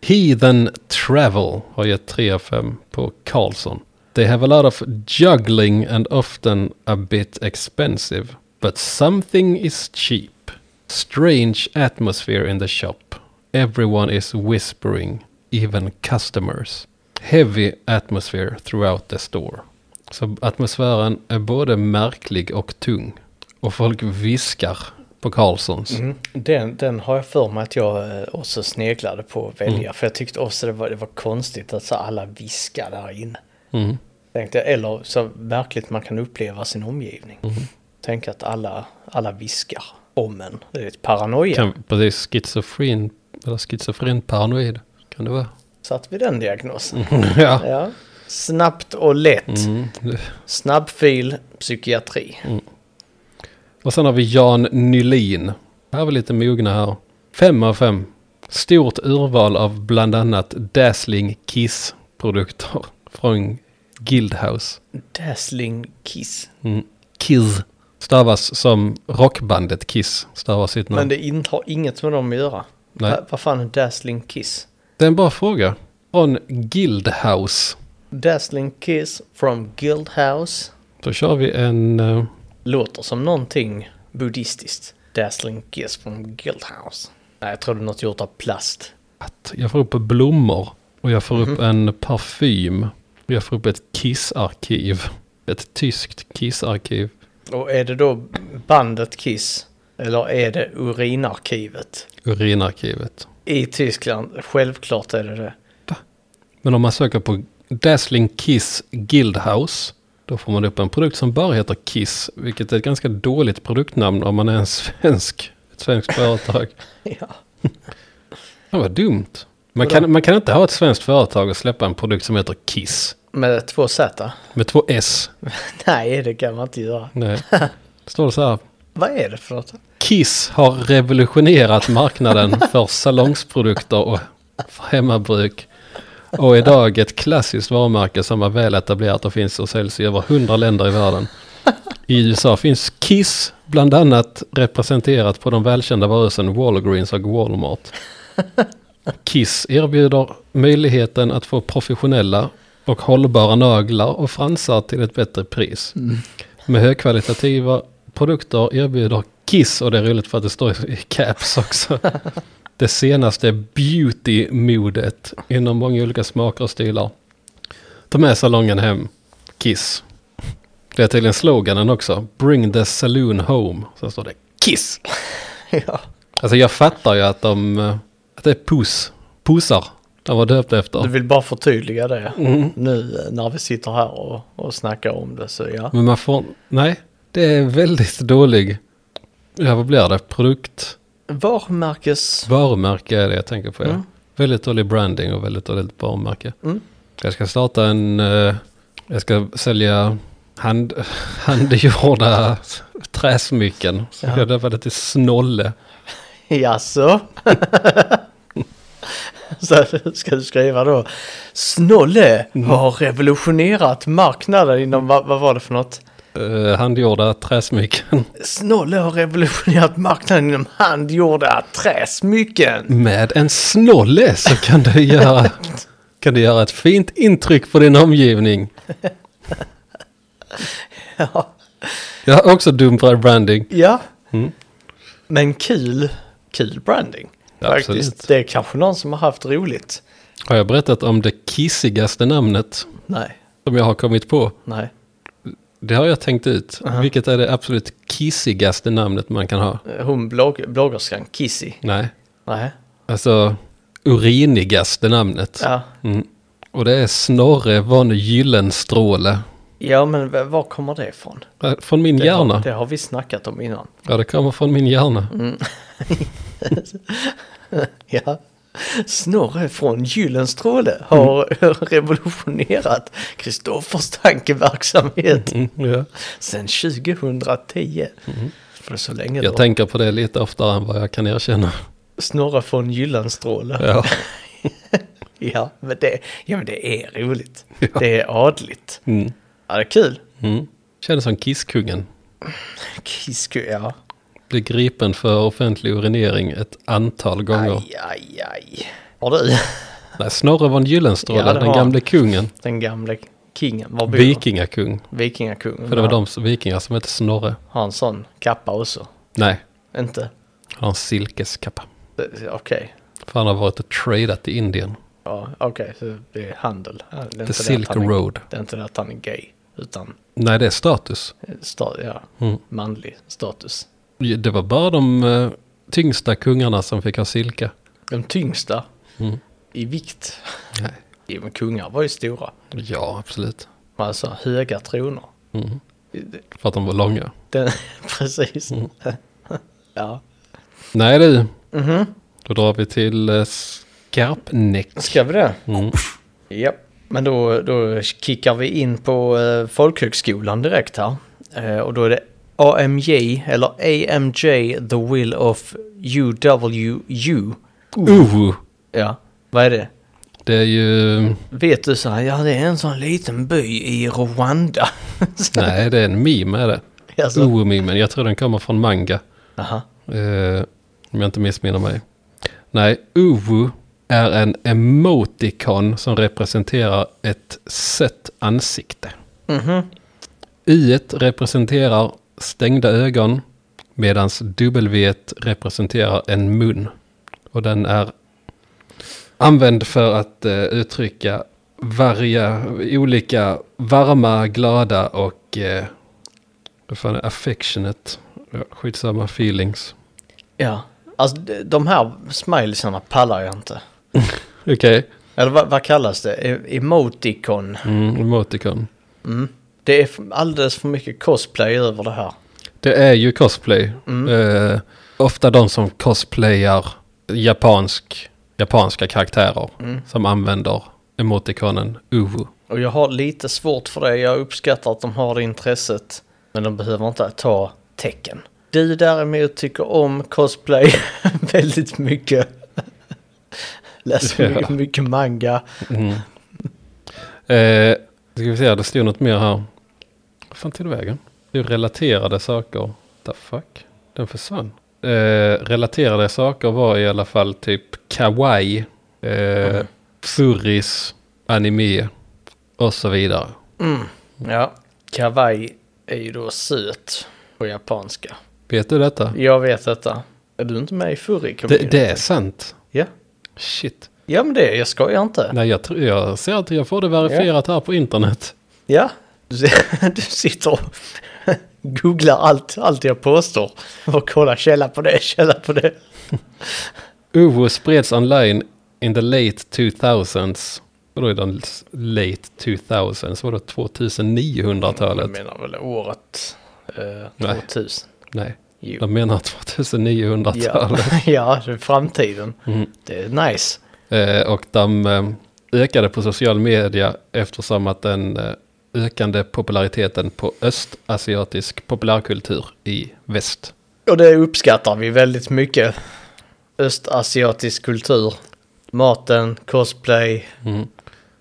A: Heathen Travel har gett 3 av 5 på Carlson. They have a lot of juggling and often a bit expensive. But something is cheap. Strange atmosphere in the shop. Everyone is whispering, even customers. Heavy atmosphere throughout the store. Så atmosfären är både märklig och tung. Och folk viskar på Carlsons.
B: Mm. Den, den har jag för mig att jag eh, också sneglade på att välja. För jag tyckte också det var, det var konstigt att så alla viskar där inne.
A: Mm.
B: Tänkte jag, eller så märkligt man kan uppleva sin omgivning. Tänk att alla, alla viskar om en. Det är ett paranoia.
A: Kan, precis, schizofren, eller schizofren paranoid kan det
B: *laughs*
A: vara.
B: Satt vi den diagnosen?
A: ja.
B: Ja. Snabbt och lätt.
A: Mm.
B: Snabbfil, psykiatri.
A: Och sen har vi Jan Nylin. Här är vi lite mogna här. Fem av fem. Stort urval av bland annat Dazzling Kiss-produkter från Guildhouse.
B: Dazzling kiss.
A: Mm. Kiss. Stavas som rockbandet Kiss stavar sitt namn.
B: Men det in, har inget med dem att göra.
A: Nej.
B: Va- Vad fan är dazzling kiss?
A: Det är en bra fråga. Från Guildhouse.
B: Dazzling kiss from Guildhouse.
A: Då kör vi en... eh,
B: Låter som någonting buddhistiskt. Dazzling kiss from Guildhouse. Nej, jag trodde något gjort av plast.
A: att jag får upp blommor. Och jag får upp en parfym. Och jag får upp ett Kiss-arkiv. Ett tyskt Kiss-arkiv.
B: Och är det då bandet Kiss? Eller är det urinarkivet?
A: Urinarkivet.
B: I Tyskland, självklart är det det.
A: Men om man söker på Dazzling Kiss Guildhouse. Då får man upp en produkt som bara heter Kiss. Vilket är ett ganska dåligt produktnamn om man är en svensk. Ett svenskt företag.
B: Ja.
A: Det var dumt. Man kan, man kan inte ha ett svenskt företag och släppa en produkt som heter Kiss.
B: Med två Z? *laughs*
A: Med två S.
B: Nej, det kan man inte göra.
A: Nej. Står det så här.
B: Vad är det för något? *laughs*
A: Kiss har revolutionerat marknaden för salongsprodukter och för hemmabruk. Och är idag ett klassiskt varumärke som är väl etablerat och finns och säljs i över 100 länder i världen. I USA finns Kiss bland annat representerat på de välkända varuhusen Walgreens och Walmart. Kiss erbjuder möjligheten att få professionella och hållbara naglar och fransar till ett bättre pris. Med högkvalitativa produkter erbjuder Kiss, och det är roligt för att det står i caps också, det senaste beauty-modet inom många olika smaker och stilar. Ta med salongen hem, Kiss. Det är tydligen sloganen också, bring the saloon home. Sen står det Kiss.
B: Ja.
A: Alltså jag fattar ju att de, eh, att det är puss, pussar de var döpta
B: Du
A: efter.
B: vill bara förtydliga det nu eh, när vi sitter här och, och snackar om det. Så ja,
A: Men man får, nej, det är väldigt dålig, ja vad blir det, produkt,
B: varumärkes...
A: varumärke är det jag tänker på. Ja.
B: Mm.
A: Väldigt dålig branding och väldigt dåligt varumärke.
B: Mm.
A: Jag ska starta en, eh, jag ska sälja hand, *laughs* handgjorda träsmycken. Så
B: Ja.
A: jag döpa det till Snolle.
B: Jaså? *laughs* Så ska du skriva då. Snolle har revolutionerat marknaden inom, vad, vad var det för något?
A: Eh, handgjorda träsmycken
B: Snolle har revolutionerat marknaden inom handgjorda träsmycken. *laughs*
A: Med en snolle så kan du göra, kan du göra ett fint intryck på din omgivning.
B: Ja.
A: Jag har också dum branding.
B: Ja. Men kul, kul branding.
A: Absolut.
B: Faktiskt. Det är kanske någon som har haft roligt.
A: Har jag berättat om det kissigaste namnet
B: Nej,
A: som jag har kommit på?
B: nej.
A: Det har jag tänkt ut. Vilket är det absolut kissigaste namnet man kan ha?
B: Eh, Hon blogg, bloggerskan Kissy.
A: Nej,
B: Nej.
A: alltså urinigaste namnet.
B: Ja.
A: Mm. Och det är Snorre von Gyllenstråle.
B: ja, men v- var kommer det ifrån?
A: Eh, Från min
B: Det Har,
A: hjärna.
B: det har vi snackat om innan. *laughs*
A: Ja, det kommer från min hjärna.
B: Mm. Ja. Snorre från Gyllenstråle har
A: Mm.
B: *laughs* revolutionerat Kristoffers tankeverksamhet
A: Mm, ja.
B: sedan 2010. För så länge
A: Jag
B: då.
A: tänker på det lite oftare än vad jag kan erkänna.
B: Snorre från Gyllenstråle.
A: Ja.
B: *laughs* Ja, men det, ja, men det är roligt. Det är adligt. Ja, det är kul.
A: Mm. Kändes som Kisskungen.
B: Kisku, ja.
A: Blev gripen för offentlig urinering ett antal gånger.
B: Aj, aj, aj. Har du?
A: Nej, Snorre von Gyllenstråle,
B: Ja, det
A: den
B: var-
A: gamle kungen.
B: Den gamle kingen. Var bor han?
A: Vikingakung.
B: Vikingakungen.
A: För det var de som- vikingar som hette Snorre.
B: Har en sån kappa också.
A: Nej,
B: Inte?
A: han har en silkeskappa.
B: Det- Okej.
A: För han har varit och tradat i Indien.
B: Ja, okej. så det är handel. Ja, Det är inte det
A: The
B: att
A: Silk
B: han är-
A: Road.
B: Det är inte det att han är gay. Utan
A: Nej, det är status.
B: eh, sta, ja,
A: Mm.
B: manlig status.
A: Det var bara de eh, tyngsta kungarna som fick ha silke.
B: De tyngsta
A: Mm.
B: i vikt.
A: Nej.
B: *laughs* Jo, men kungar var ju stora.
A: Ja, absolut.
B: Alltså höga troner.
A: Mm. För att de var långa.
B: Den, *laughs* precis.
A: Mm.
B: *laughs* ja.
A: Nej du. Då drar vi till eh, Skarpnäck.
B: Ska vi det?
A: Mm.
B: Ja. Men då, då kickar vi in på eh, folkhögskolan direkt här. Eh, och då är det AMJ, eller AMJ, The Will of UWU.
A: Uh,
B: Ja, vad är det?
A: det är ju...
B: Vet du så här, ja det är en sån liten by i Rwanda. *laughs*
A: Nej, det är en meme är det.
B: alltså,
A: Uh-memen. Jag tror den kommer från manga.
B: aha.
A: Eh, om jag inte missminner mig. Nej, Uwu är en emoticon som representerar ett sött ansikte.
B: Mhm.
A: y representerar stängda ögon medan W representerar en mun. Och den är använd för att eh, uttrycka varje, olika varma, glada och eh, vad fan är affectionate, ja, skitsamma feelings.
B: Ja, alltså de- de här smileysarna pallar jag inte.
A: Okej,
B: Eller vad, vad kallas det? E- Emoticon.
A: mm, emoticon.
B: Det är f- alldeles för mycket cosplay över det här.
A: Det är ju cosplay. Eh, ofta de som cosplayar japansk, japanska karaktärer som använder emotikonen uwu.
B: Och jag har lite svårt för det. Jag uppskattar att de har det intresset. Men de behöver inte ta tecken. Du däremot tycker om cosplay *laughs* väldigt mycket. Läser
A: Ja.
B: mycket, mycket manga.
A: Eh, ska vi se, det stod något mer här. Vad fan tog det vägen? Det är relaterade saker. The fuck? Den försvann. Eh, relaterade saker var i alla fall typ kawaii, eh, furries, anime och så vidare.
B: Mm, Ja, kawaii är ju då söt på japanska.
A: Vet du detta?
B: Jag vet detta. Är du inte med i furry
A: Det, det är sant.
B: Ja.
A: Shit.
B: ja, men det är jag skojar inte.
A: Nej, jag, tror- jag ser att jag får det verifierat här på internet.
B: Ja, du, ser- *laughs* du sitter och googlar allt, allt jag påstår. Och kollar källa på det, källa på det.
A: Uvo spreds online in the late 2000s. Och då är den s- late 2000s, var det 2900-talet?
B: Jag menar väl året eh,
A: Nej.
B: 2000.
A: Nej,
B: Jo.
A: de menar 2900-talet. *laughs*
B: Ja, *laughs* ja, det är framtiden.
A: Mm.
B: Det är nice.
A: *laughs* Eh, och de eh, ökade på social media eftersom att den eh, ökande populariteten på östasiatisk populärkultur i väst.
B: Och det uppskattar vi väldigt mycket. Östasiatisk kultur. Maten, cosplay,
A: Mm.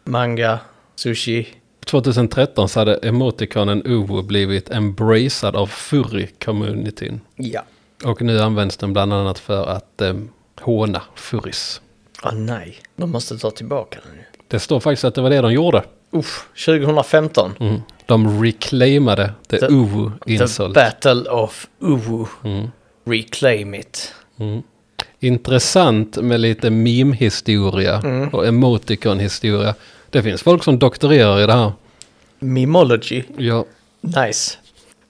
B: manga, sushi.
A: 2013 så hade emotikonen Uvo blivit embraced av furry-communityn.
B: Ja.
A: Och nu används den bland annat för att eh, håna furries.
B: Ah, nej, de måste ta tillbaka den nu.
A: Det står faktiskt att det var det de gjorde.
B: Uff, 2015.
A: Mm. De reclaimade the,
B: The-
A: Uvo
B: The
A: insult. Mm.
B: Battle of Uwu. Reclaim it.
A: Intressant med lite meme-historia och emoticon-historia. Det finns folk som doktorerar i det här.
B: Mimology.
A: Ja,
B: Nice.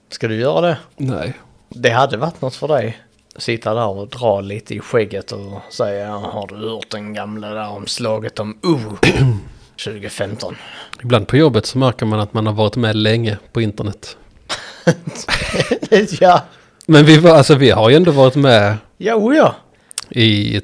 B: Ska du göra det?
A: nej.
B: Det hade varit något för dig. Sitta där och dra lite i skägget och säga har du hört den gamla där om slaget om
A: *clears throat*
B: Uwu 2015?
A: Ibland på jobbet så märker man att man har varit med länge på internet.
B: *laughs* ja,
A: Men vi, var, alltså, vi har ju ändå varit med
B: ja, oh ja.
A: i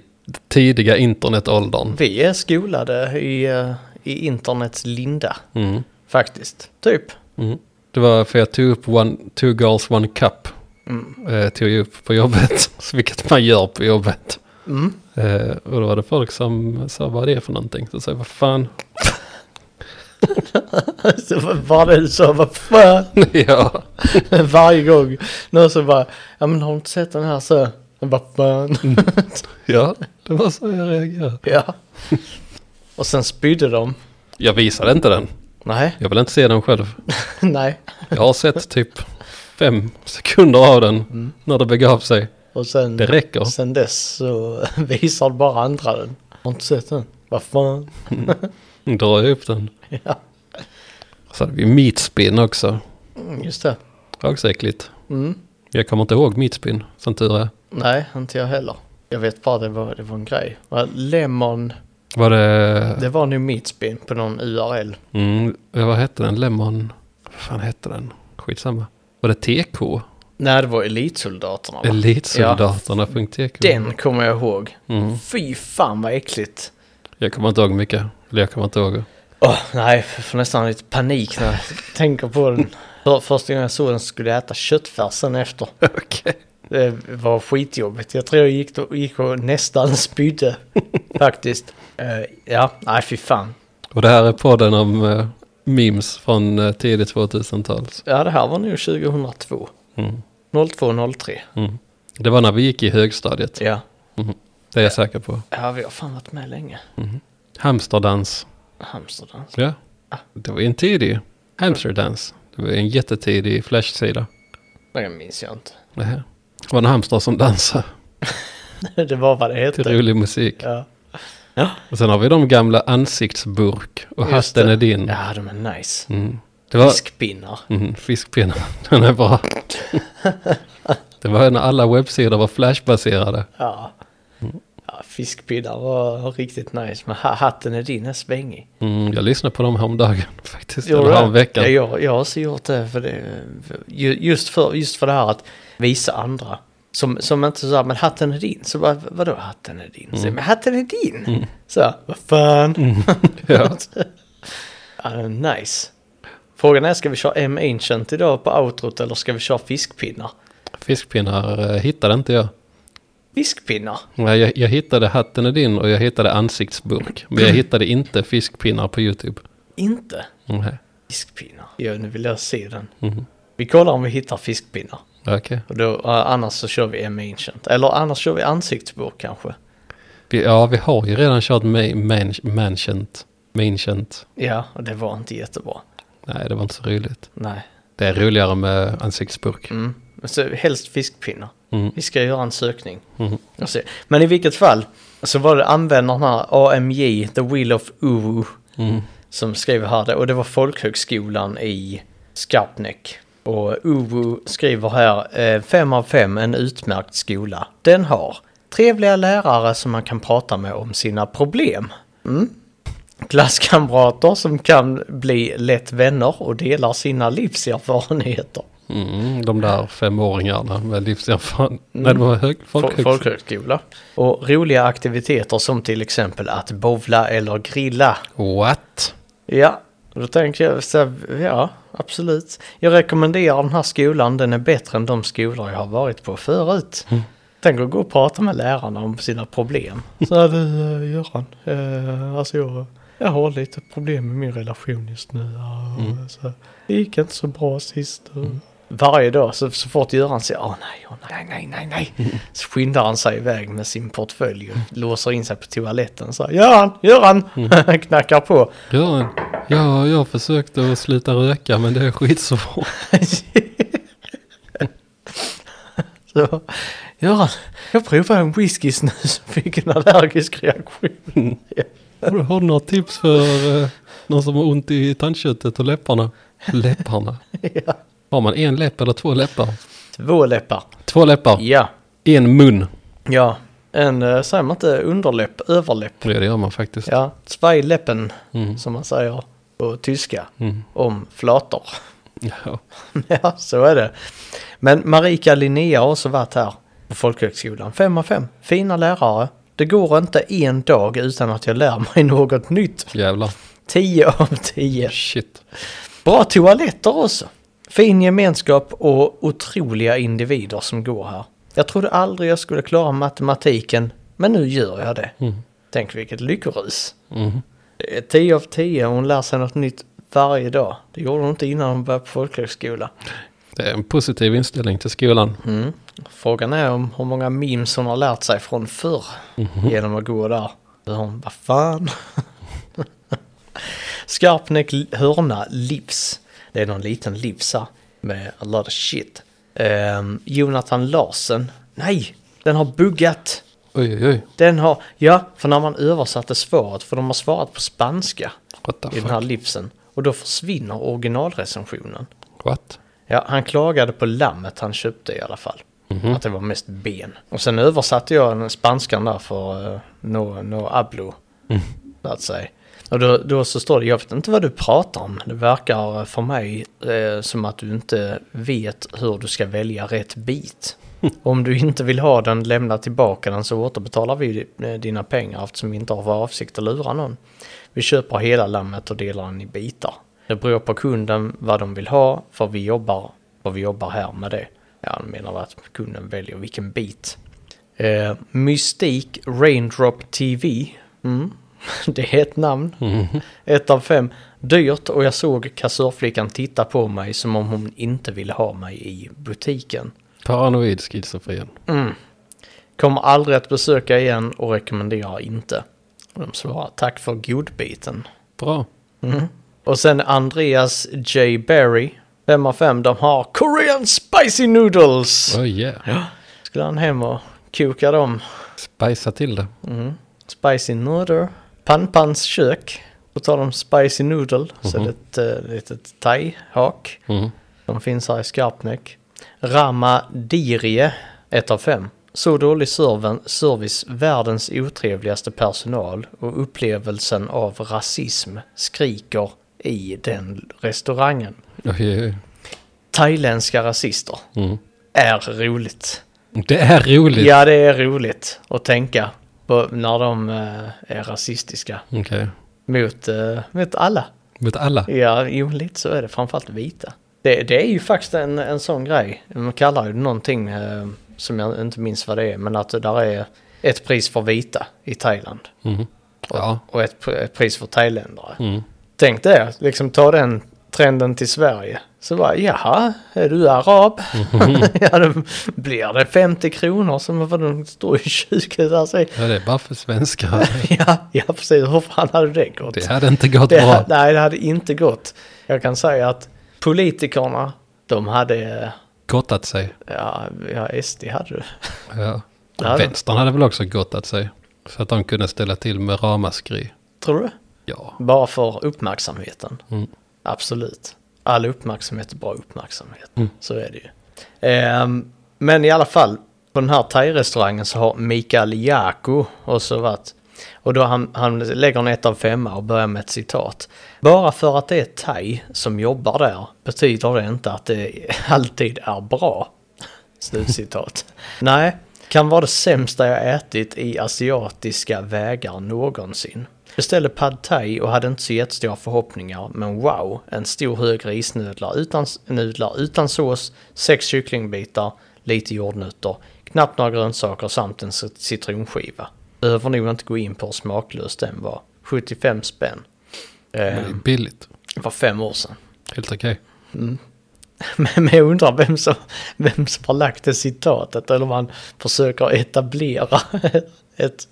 A: tidiga internetåldern.
B: Vi är skolade i, eh, i internets linda.
A: Mm.
B: Faktiskt. Typ. *laughs*
A: Mm. Det var för jag tog upp one, Two Girls One Cup. Eh, tog jag upp på jobbet, *laughs* Så vilket man gör på jobbet. Eh, och då var det folk som sa vad är det är för någonting. Så sa jag vad fan. *laughs*
B: Så var det så, vad fan?
A: ja.
B: *laughs* Varje gång. Någon som bara, ja men har du inte sett den här så?
A: Mm.
B: *laughs*
A: ja,
B: Jag bara, fan.
A: det var så jag reagerade.
B: ja. Och sen spydde de.
A: Jag visade inte den.
B: Nej, *laughs*
A: Jag vill inte se den själv.
B: nej.
A: Jag har sett typ fem sekunder av den när det begav sig.
B: Och sen,
A: Det räcker.
B: sen dess så *laughs* visar bara andra den. Har inte sett den. Vad fan. *laughs*
A: Dra upp den.
B: Ja,
A: Så hade vi meatspin också.
B: mm, just det.
A: Också äckligt.
B: Mm.
A: Jag kommer inte ihåg meatspin, som tur är.
B: Nej, inte jag heller. Jag vet bara det var, det var en grej. Va, Lemon,
A: Var det...
B: det var nu meatspin på någon URL.
A: Mm, vad hette den? Lemon... Vad fan hette den? Skitsamma. Var det TK?
B: Nej, det var elitsoldaterna va?
A: Elitsoldaterna.tk?
B: Den kommer jag ihåg.
A: Mm.
B: Fy fan vad äckligt.
A: Jag kommer inte ihåg mycket. Eller jag kommer inte ihåg.
B: Åh, nej, jag får nästan lite panik när jag tänker på den. För, första gången jag såg den skulle jag äta köttfärsen efter.
A: *laughs* Okej.
B: Det var skitjobbigt. Jag tror jag gick, då, gick och nästan spydde
A: *laughs*
B: faktiskt. Eh, ja, nej fy fan.
A: Och det här är podden om eh, memes från uh, tidigt 2000-tal.
B: Ja, det här var nog 2002.
A: Mm.
B: 0203.
A: Mm. Det var när vi gick i högstadiet.
B: Ja.
A: Det är jag säker på.
B: ja, vi har fan varit med länge.
A: Hamsterdans.
B: Hamsterdans.
A: Ja.
B: Ah.
A: Det var ju en tidig hamsterdans. Det var en jättetidig flashsida.
B: Det minns jag inte. *laughs*
A: Det var en hamster som dansade
B: Det var vad det
A: till
B: hette.
A: rolig musik.
B: Ja.
A: Och sen har vi de gamla ansiktsburk och
B: Just
A: hatten
B: det.
A: är din.
B: ja, de är nice.
A: Mm. Det var
B: Fiskpinnar.
A: mm, fiskpinnar. *laughs* Den är
B: *laughs*
A: bra. Det var när alla webbsidor var flashbaserade.
B: Ja. ja fiskpinnar var riktigt nice. Men ha- hatten är din är svängig.
A: Mm, jag lyssnade på dem häromdagen *laughs* faktiskt.
B: Gjorde
A: Eller
B: det?
A: häromveckan.
B: Ja, jag, jag har också gjort det, för det ju- just, för, just för det här att visa andra. Som, som inte så här, men hatten är din. Så bara, vadå hatten är din? Så, men hatten är din! Så, vad fan? *laughs*
A: Ja.
B: Ja, det är nice. Frågan är, ska vi köra M Ancient idag på outrot eller ska vi köra fiskpinnar?
A: Fiskpinnar eh, hittade inte jag.
B: Fiskpinnar?
A: Nej, jag, jag hittade hatten är din och jag hittade ansiktsburk. Men jag hittade inte fiskpinnar på YouTube. Mm,
B: Inte
A: Nej,
B: fiskpinnar. Ja, nu vill jag se den.
A: Mhm.
B: Vi kollar om vi hittar fiskpinnar.
A: okej.
B: Och då, eh, annars så kör vi M Ancient. Eller annars kör vi ansiktsbok kanske.
A: Vi, ja, vi har ju redan kört ma- man- Manchant. Manchant.
B: Ja, och det var inte jättebra.
A: Nej, det var inte så roligt.
B: Nej.
A: Det är roligare med ansiktsburk.
B: Mm. Så helst fiskpinnar.
A: Mm.
B: Vi ska göra en sökning.
A: Mhm.
B: Och se. Men i vilket fall så var det användarna AMJ, The Wheel of Uwu,
A: Mm.
B: som skrev här det. Och det var folkhögskolan i Skarpnäck. Och Uwu skriver här, eh, fem av fem en utmärkt skola. Den har trevliga lärare som man kan prata med om sina problem. Mm. Klasskamrater som kan bli lätt vänner och delar sina livserfarenheter.
A: Mm, de där femåringarna med
B: Mm.
A: livserfarenhet. När de var hög,
B: Fol-
A: folkhögs-
B: Folkhögskola. Och roliga aktiviteter som till exempel att bowla eller grilla.
A: What?
B: Ja, då tänker jag så här, ja, absolut. Jag rekommenderar den här skolan, den är bättre än de skolor jag har varit på förut. Tänk att gå och prata med lärarna om sina problem. Så här, du eh, Göran, eh, alltså jag, jag har lite problem med min relation just nu. ja, och Så här, det gick inte så bra sist. och- Mm. Varje dag så, så fort Göran säger åh nej, åh nej, nej, nej, nej. Så skyndar han sig iväg med sin portfölj och låser in sig på toaletten. Så här, Göran, Göran! *laughs* Knackar på.
A: Göran, ja, jag försökte att sluta röka men det är skitsvårt.
B: *laughs* så, Göran, jag provade en whisky snus och fick en allergisk reaktion. Ja.
A: Har du- Har du några tips för eh, någon som har ont i tandköttet och läpparna? Läpparna?
B: *laughs* Ja.
A: Har man en läpp eller två läppar?
B: Två läppar.
A: Två läppar,
B: Ja.
A: en mun.
B: Ja. En, eh, säger man inte underläpp, överläpp?
A: Ja, det gör man faktiskt.
B: Ja, Zweiläppen, som man säger på tyska, om flator. *laughs*
A: Ja.
B: ja, så är det. Men Marika Linnea har också varit här på folkhögskolan. Fem av fem. Fina lärare. Det går inte en dag utan att jag lär mig *laughs* något nytt.
A: Jävlar,
B: 10 av 10.
A: shit.
B: Bra toaletter också. Fin gemenskap och otroliga individer som går här. Jag trodde aldrig jag skulle klara matematiken, men nu gör jag det. Tänk vilket lyckorus.
A: Mhm.
B: Det är 10 av 10 och hon lär sig något nytt varje dag. Det gjorde hon inte innan hon började på folkhögskola.
A: Det är en positiv inställning till skolan.
B: Mm. Frågan är om hur många
A: Mhm.
B: memes hon har lärt sig från förr genom att gå där. Hon, vad fan? *laughs* Skarpnäck hörna livs. Det är någon liten livsa med a lot of shit. Ehm, Jonathan Larsen. Nej, den har buggat.
A: Oj, oj, oj.
B: Den har, ja, för när man översatte svaret, för de har svarat på spanska
A: What the
B: i den
A: fuck?
B: här livsen. Och då försvinner originalrecensionen.
A: What?
B: Ja, han klagade på lammet han köpte i alla fall. Att det var mest ben. Och sen översatte jag den spanskan där för eh, no, no hablo. Så att säga. Och då, då så står det, jag vet inte vad du pratar om. Det verkar för mig eh, som att du inte vet hur du ska välja rätt bit. Om du inte vill ha den, lämna tillbaka den så återbetalar vi eh, dina pengar eftersom vi inte har för avsikt att lura någon. Vi köper hela lammet och delar den i bitar. Det beror på kunden vad de vill ha, för vi jobbar, för vi jobbar här med det. Ja, han menar att kunden väljer vilken bit. Eh, Mystik Raindrop TV. Mm. *laughs* Det är ett namn. Ett av fem. Dyrt och jag såg kassörflickan titta på mig som om hon inte ville ha mig i butiken.
A: Paranoid schizofren.
B: Kommer aldrig att besöka igen och rekommenderar inte. Och De svarar tack för godbiten.
A: Bra.
B: Och sen Andreas J. Berry. 5 av 5. De har Korean Spicy Noodles.
A: Oh yeah.
B: Skulle han hem och koka dem.
A: Spicea till det.
B: Spicy Noodle. Panpans kök. Då tar de Spicy Noodle. Så det är ett eh, litet thai-hak.
A: Mhm.
B: De finns här i Skarpnäck. Rama Dirie. 1 av 5. Så dålig serven- service, världens otrevligaste personal och upplevelsen av rasism skriker i den restaurangen.
A: Oj, oj, oj.
B: thailändska rasister
A: Mm.
B: är roligt.
A: Det är roligt.
B: Ja, det är roligt att tänka på när de eh, är rasistiska
A: Okej.
B: mot, eh, mot alla.
A: Vet alla?
B: Ja, jo, lite så är det, framförallt vita. Det, det är ju faktiskt en, en sån grej. De kallar ju det någonting eh, som jag inte minns vad det är, men att det där är ett pris för vita i Thailand
A: Mhm. Ja.
B: och ett, pr- ett pris för thailändare.
A: Mm.
B: Tänk det, liksom ta den trenden till Sverige. Så bara, jaha, är du
A: *laughs*
B: arab? ja, då blir det 50 kronor som för de står i 20 där. Så,
A: ja, det är bara för
B: *laughs*
A: svenskar.
B: ja, ja, precis, hur fan hade det gått?
A: Det hade inte gått
B: Det
A: bra.
B: hade- nej, det hade inte gått. Jag kan säga att politikerna, de hade,
A: Gottat sig.
B: ja, ja SD hade du.
A: Ja.
B: Det hade-
A: Vänstern hade väl också gottat sig. Så att de kunde ställa till med ramaskri.
B: Tror du?
A: Ja.
B: Bara för uppmärksamheten.
A: Mm.
B: Absolut. All uppmärksamhet är bra uppmärksamhet. Så är det ju. Ehm, men i alla fall, på den här thai-restaurangen så har Mikael Jaku också varit. Och då han, han lägger en ett av femma och börjar med ett citat. Bara för att det är thai som jobbar där betyder det inte att det *laughs* alltid är bra. Slutcitat. Nej, kan vara det sämsta jag ätit i asiatiska vägar någonsin. Beställde pad thai och hade inte så jättestora förhoppningar, men wow, en stor hög risnudlar utan, nudlar utan sås, sex kycklingbitar, lite jordnötter, knappt några grönsaker samt en cit- citronskiva. Behöver nog inte gå in på hur smaklös den var. 75 spänn.
A: Det
B: Eh,
A: är billigt.
B: det var fem år sedan.
A: Helt okej.
B: Men men jag undrar vem som, vem som har lagt det citatet eller om han försöker etablera *laughs* ett...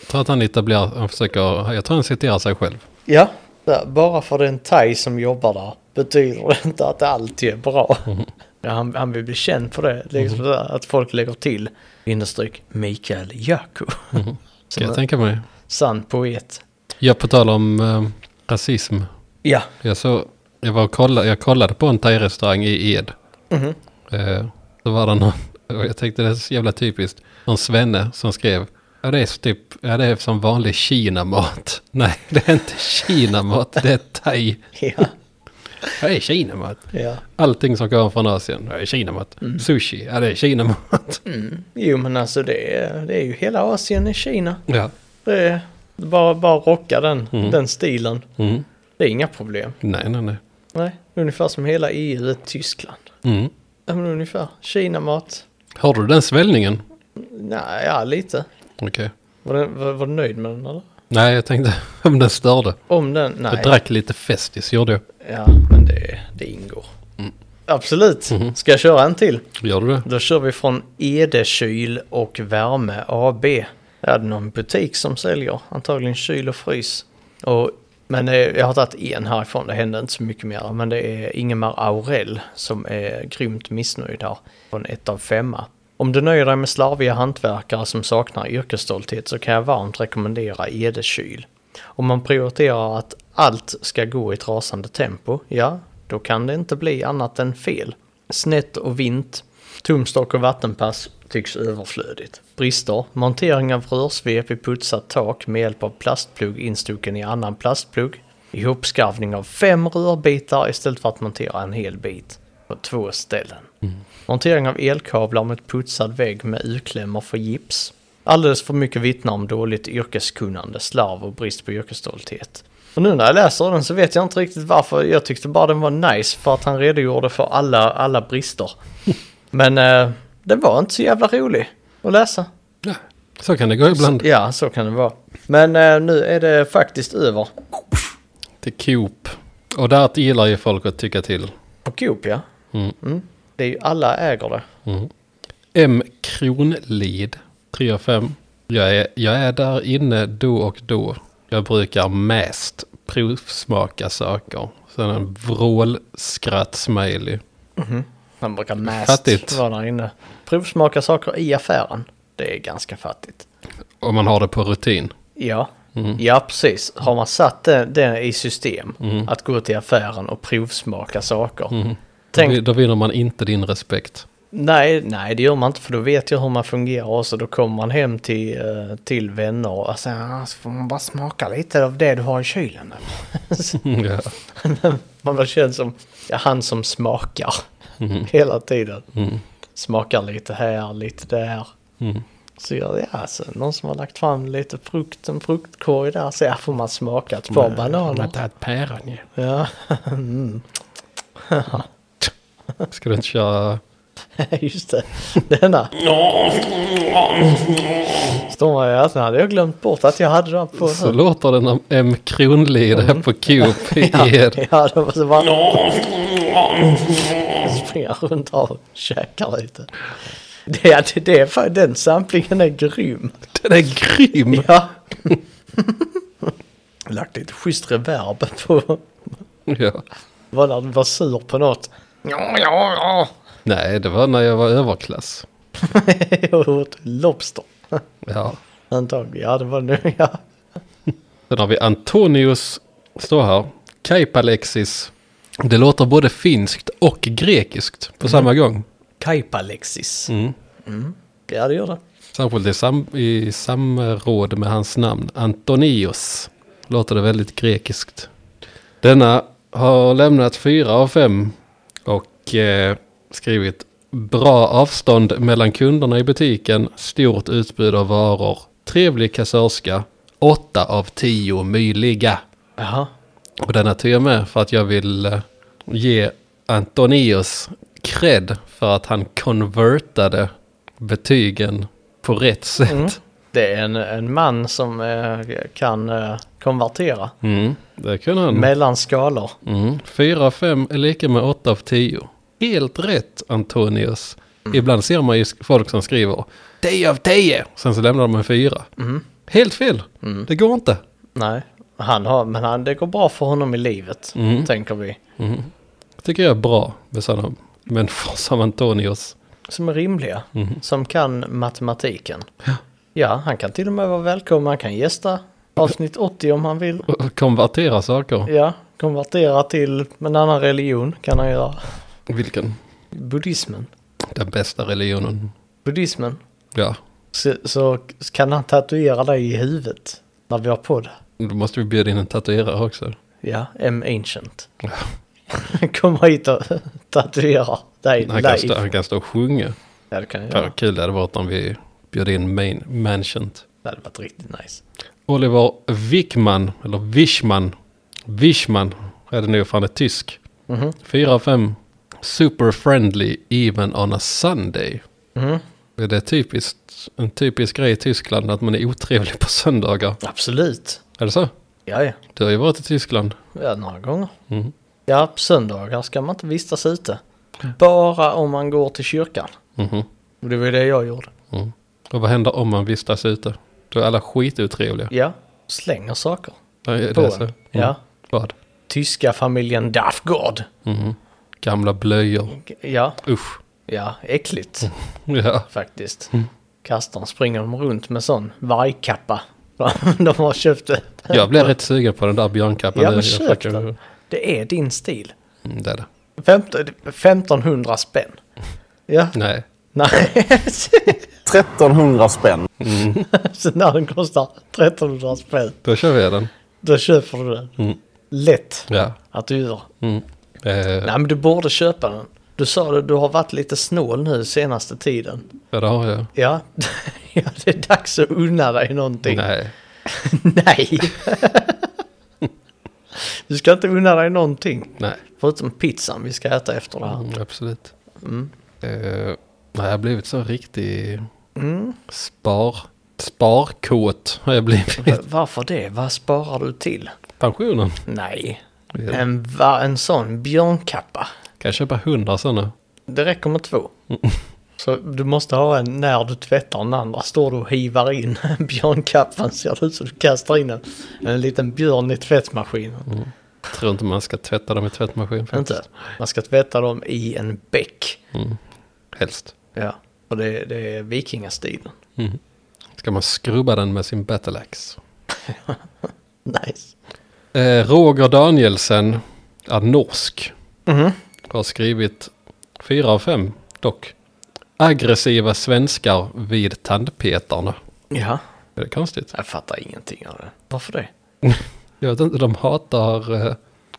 A: Jag tror att han etablerar, han försöker, jag tror han citerar sig själv.
B: Ja, där, bara för den thai som jobbar där betyder det inte att alltid är bra. *laughs* Ja, han, han vill bli känd för det, liksom sådär, att folk lägger till understryk Mikael Jaku.
A: Ska jag
B: *laughs* Som en
A: tänka mig.
B: sann poet.
A: Jag på tal om eh, rasism.
B: Ja,
A: Jag, så, jag, var och kolla, jag kollade på en thai-restaurang i Ed. Eh, så var det någon, *laughs* och jag tänkte det är så jävla typiskt, någon svenne som skrev Ja det är typ, ja det är som vanlig kinamat. *laughs* Nej det är inte kinamat, det är thai.
B: *laughs* ja,
A: Ja det är kinamat.
B: ja.
A: Allting som kommer från Asien, ja, det är kinamat. Sushi, ja det är kinamat.
B: Jo men alltså det är, det är ju hela Asien i Kina.
A: *laughs* Ja.
B: Det är bara, bara rocka den, den stilen.
A: Mm.
B: Det är inga problem.
A: Nej nej nej.
B: Nej, ungefär som hela EU är Tyskland.
A: Mm.
B: Ja, men ungefär. Kina-mat?
A: Har du den svällningen?
B: Nej, ja, lite.
A: Okej.
B: Var, den, var, var du nöjd med den eller?
A: Nej jag tänkte *laughs* om den störde.
B: Om den? Nej.
A: Jag drack lite Festis gjorde jag.
B: Ja, men det, det ingår. Absolut. Ska jag köra en till?
A: Gör du det?
B: Då kör vi från Edekyl och Värme AB. Det är någon butik som säljer antagligen kyl och frys. Och Men eh, jag har tagit en härifrån, det hände inte så mycket mer. Men det är Ingemar Aurell som är grymt missnöjd här. Från ett av femma. Om du nöjer dig med slarviga hantverkare som saknar yrkesstolthet så kan jag varmt rekommendera Edekyl. Om man prioriterar att allt ska gå i ett rasande tempo, ja, då kan det inte bli annat än fel. Snett och vint, tumstock och vattenpass tycks överflödigt. Brister, montering av rörsvep i putsat tak med hjälp av plastplugg instucken i annan plastplugg. Ihopskarvning av fem rörbitar istället för att montera en hel bit på två ställen. Montering av elkablar mot putsad vägg med uklämmor för gips. Alldeles för mycket vittnar om dåligt yrkeskunnande, slarv och brist på yrkesstolthet. Och nu när jag läser den så vet jag inte riktigt varför. Jag tyckte bara den var nice för att han redogjorde för alla, alla brister. Men eh, den var inte så jävla rolig att läsa.
A: Ja, så kan det gå ibland.
B: Ja, så kan det vara. Men eh, nu är det faktiskt över.
A: Till Coop. Och där gillar ju folk att tycka till.
B: På Coop, ja.
A: Mm.
B: Det är ju alla äger det.
A: M. Kronlid. 3 av 5. Jag är, jag är där inne då och då. Jag brukar mest provsmaka saker. Sen en vrålskratt-smiley.
B: Man brukar
A: Fattigt.
B: mest vara där inne. Provsmaka saker i affären. Det är ganska fattigt.
A: Om man har det på rutin.
B: Ja,
A: Mm.
B: ja precis. Har man satt det, det i system,
A: Mm.
B: att gå till affären och provsmaka saker.
A: Då,
B: Tänk,
A: vi- då vinner man inte din respekt. *laughs*
B: nej, nej det gör man inte för då vet jag hur man fungerar och så då kommer man hem till, eh, till vänner och sen "Ah, så får man bara smaka lite av det du har i kylen.
A: ja.
B: Man bara känns som ja, han som smakar *laughs* hela tiden. Smakar lite här, lite där. Så gör det alltså, någon som har lagt fram lite frukt, en fruktkorg där. Så här får man smaka ett par bananer.
A: tar ett päron ju.
B: Ja, *laughs*
A: Ska du inte köra...
B: just det. Denna. Står man i halsen hade jag glömt bort att jag hade den på. nu.
A: Så låter den om M. Kronlid här på Coop i Ed.
B: *laughs* Ja, det var så bara... Springa runt här och käka lite. Det, är- det, det är fan, den samplingen är grym.
A: Den är grym!
B: Ja. *laughs* Lagt lite schysst reverb på
A: Ja.
B: vad när du var sur på något. *laughs* Ja, ja, ja.
A: Nej, det var när jag var överklass.
B: Jag åt Lobster.
A: Ja.
B: Antagligen, ja det var nu ja.
A: Sen har vi Antonius, står här, Kaipalexis. Det låter både finskt och grekiskt på
B: Mm.
A: samma gång.
B: Kajpalexis. Mm. Ja det gör det.
A: Särskilt i, sam i samråd med hans namn, Antonius. Låter det väldigt grekiskt. Denna har lämnat fyra av fem och eh, skrivit bra avstånd mellan kunderna i butiken, stort utbud av varor, trevlig kassörska, åtta av tio möjliga.
B: Jaha.
A: Och denna tog jag med för att jag vill eh, ge Antonius cred för att han konvertade betygen på rätt sätt.
B: Det är en, en man som eh, kan eh, konvertera
A: Mm, det kunde han.
B: mellan skalor.
A: Mm. 4 av 5 är lika med 8 av 10. Helt rätt Antonius. Ibland ser man ju sk- folk som skriver 10 av 10. Sen så lämnar de en 4. Helt fel. Det går inte.
B: Nej, han har, men han, det går bra för honom i livet, tänker vi.
A: Det tycker jag är bra med sådana människor som Antonius.
B: Som är rimliga, som kan matematiken. Ja. han kan till och med vara välkommen, han kan gästa avsnitt 80 om han vill.
A: Och Konvertera saker.
B: Ja, konvertera till en annan religion kan han göra.
A: Vilken?
B: Buddhismen.
A: Den bästa religionen.
B: Buddhismen.
A: Ja,
B: Så, så kan han tatuera dig i huvudet när vi har podd.
A: då måste vi bjuda in en tatuerare också.
B: Ja, M ancient. *laughs* Komma hit och tatuera dig
A: Han kan,
B: live.
A: stå, han kan stå och sjunga.
B: Ja, det kan jag
A: Fan,
B: göra.
A: Kul det hade varit om vi bjöd in main, Manchant.
B: Det hade varit riktigt nice.
A: Oliver Wickman, eller Wischman. Wischman är det nu för han är tysk.
B: Mhm.
A: 4 av 5. Super friendly even on a Sunday.
B: Mhm.
A: Det är typiskt, en typisk grej i Tyskland att man är otrevlig på söndagar.
B: Absolut.
A: Är det så?
B: Ja, ja.
A: Du har ju varit i Tyskland.
B: Ja, några gånger.
A: Mm.
B: Ja, på söndagar ska man inte vistas ute. Bara om man går till kyrkan.
A: Mhm.
B: Och det var ju det jag gjorde.
A: Och vad händer om man vistas ute? Då är alla skitotrevliga.
B: Ja, slänger saker.
A: Ja, är
B: På
A: det
B: en.
A: så? Mm.
B: Ja.
A: Vad?
B: Tyska familjen Dafgård.
A: Mhm. Gamla blöjor.
B: Ja,
A: Usch.
B: ja, äckligt
A: Mm. Ja.
B: faktiskt.
A: Mm.
B: Kastan springer de runt med sån vargkappa. *laughs* de har köpt det.
A: Jag blir rätt sugen på den där björnkappan.
B: Ja,
A: nu. Jag
B: men köp
A: försöker-
B: den. Det är din stil.
A: Mm, Det är det.
B: Femton- 1500 spänn.
A: Mm.
B: Ja,
A: Nej.
B: nej. *laughs*
D: 1300 spänn.
B: Så när den kostar 1300 spänn,
A: Då kör vi den.
B: då köper du den.
A: Mm.
B: Lätt
A: Ja.
B: att du gör.
A: Mm. Eh,
B: Nej, men du borde köpa den. Du sa det, du har varit lite snål nu senaste tiden.
A: ja, det har jag.
B: Ja, *laughs* ja det är dags att unna dig någonting.
A: Nej.
B: Nej. *laughs* du ska inte unna dig någonting.
A: Nej.
B: Förutom pizzan vi ska äta efter det här.
A: Mm, absolut.
B: Mm.
A: Eh, nej, jag har blivit så riktig
B: Mm.
A: spar, sparkåt. Har jag blivit. *laughs*
B: Va- Varför det? Vad sparar du till?
A: Pensionen.
B: Nej.
A: Ja.
B: En, va- en sån björnkappa.
A: Kan jag köpa hundra sådana?
B: Det räcker med två. Så du måste ha en när du tvättar den andra. Står du och hivar in *laughs* björnkappan ser det ut som du kastar in en, en liten björn i tvättmaskinen.
A: Tror inte man ska tvätta dem i tvättmaskin. faktiskt.
B: Inte? Man ska tvätta dem i en bäck.
A: Helst. Mm.
B: Ja, och det, det är vikingastilen.
A: Ska man skrubba den med sin battle axe.
B: Nice.
A: Eh, Roger Danielsen är norsk. Har skrivit fyra av fem dock. Aggressiva svenskar vid tandpetarna.
B: Ja,
A: Är det konstigt?
B: jag fattar ingenting av det. Varför det?
A: Jag vet inte, de hatar eh,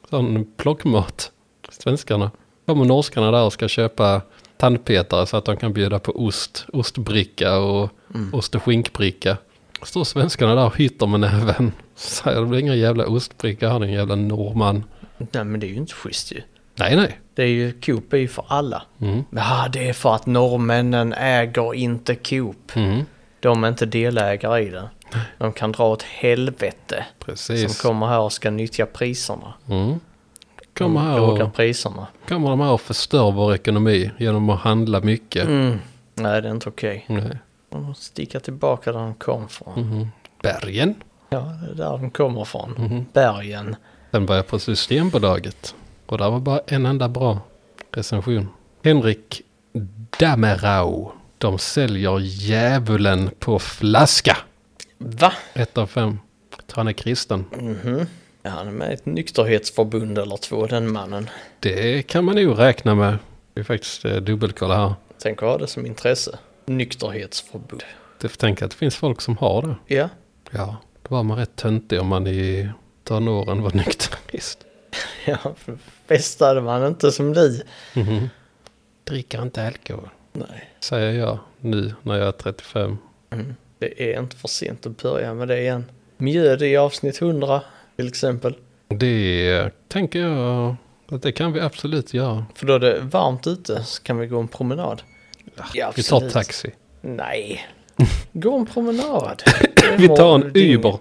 A: sån plockmat. Svenskarna. Kommer norskarna där och ska köpa tandpetare så att de kan bjuda på ost, ostbricka och ost och skinkbricka. Står svenskarna där och hytter med näven. *laughs* Säger det blir ingen jävla ostbricka här din jävla norrman.
B: Nej, men det är ju inte schysst ju.
A: Nej nej.
B: Det är ju, Coop är ju för alla. Ja, det är för att norrmännen äger inte Coop. De är inte delägare i det. De kan dra åt helvete.
A: Precis.
B: Som kommer här och ska nyttja priserna.
A: Mm.
B: De
A: Kommer, här
B: jagar
A: och,
B: priserna.
A: kommer de här och förstör vår ekonomi genom att handla mycket.
B: Nej, det är inte okej.
A: Nej.
B: De måste sticka tillbaka där de kom ifrån.
A: Bergen.
B: Ja, det är där de kommer ifrån. Bergen.
A: Sen var jag på Systembolaget. Och där var bara en enda bra recension. Henrik Damerau. De säljer djävulen på flaska.
B: Va?
A: Ett av fem. Jag tror han är kristen.
B: Ja, han är med i ett nykterhetsförbund eller två, den mannen.
A: Det kan man nog räkna med. Vi faktiskt eh, dubbelkolla här.
B: Tänk ha det som intresse. Nykterhetsförbund.
A: Det tänk att det finns folk som har det.
B: Ja,
A: Ja, då var man rätt töntig om man i tonåren var nykterist.
B: *laughs* ja för festade man inte som ni.
A: Dricker inte alkohol.
B: Nej,
A: Säger jag nu när jag är 35. Mm.
B: det är inte för sent att börja med det igen. Mjöd i avsnitt 100 till exempel.
A: Det tänker jag att det kan vi absolut göra.
B: För då är det varmt ute så kan vi gå en promenad. Ja,
A: Vi tar
B: absolut.
A: taxi.
B: Nej. Gå en promenad.
A: *laughs* Vi tar en
B: Det är-
A: Uber.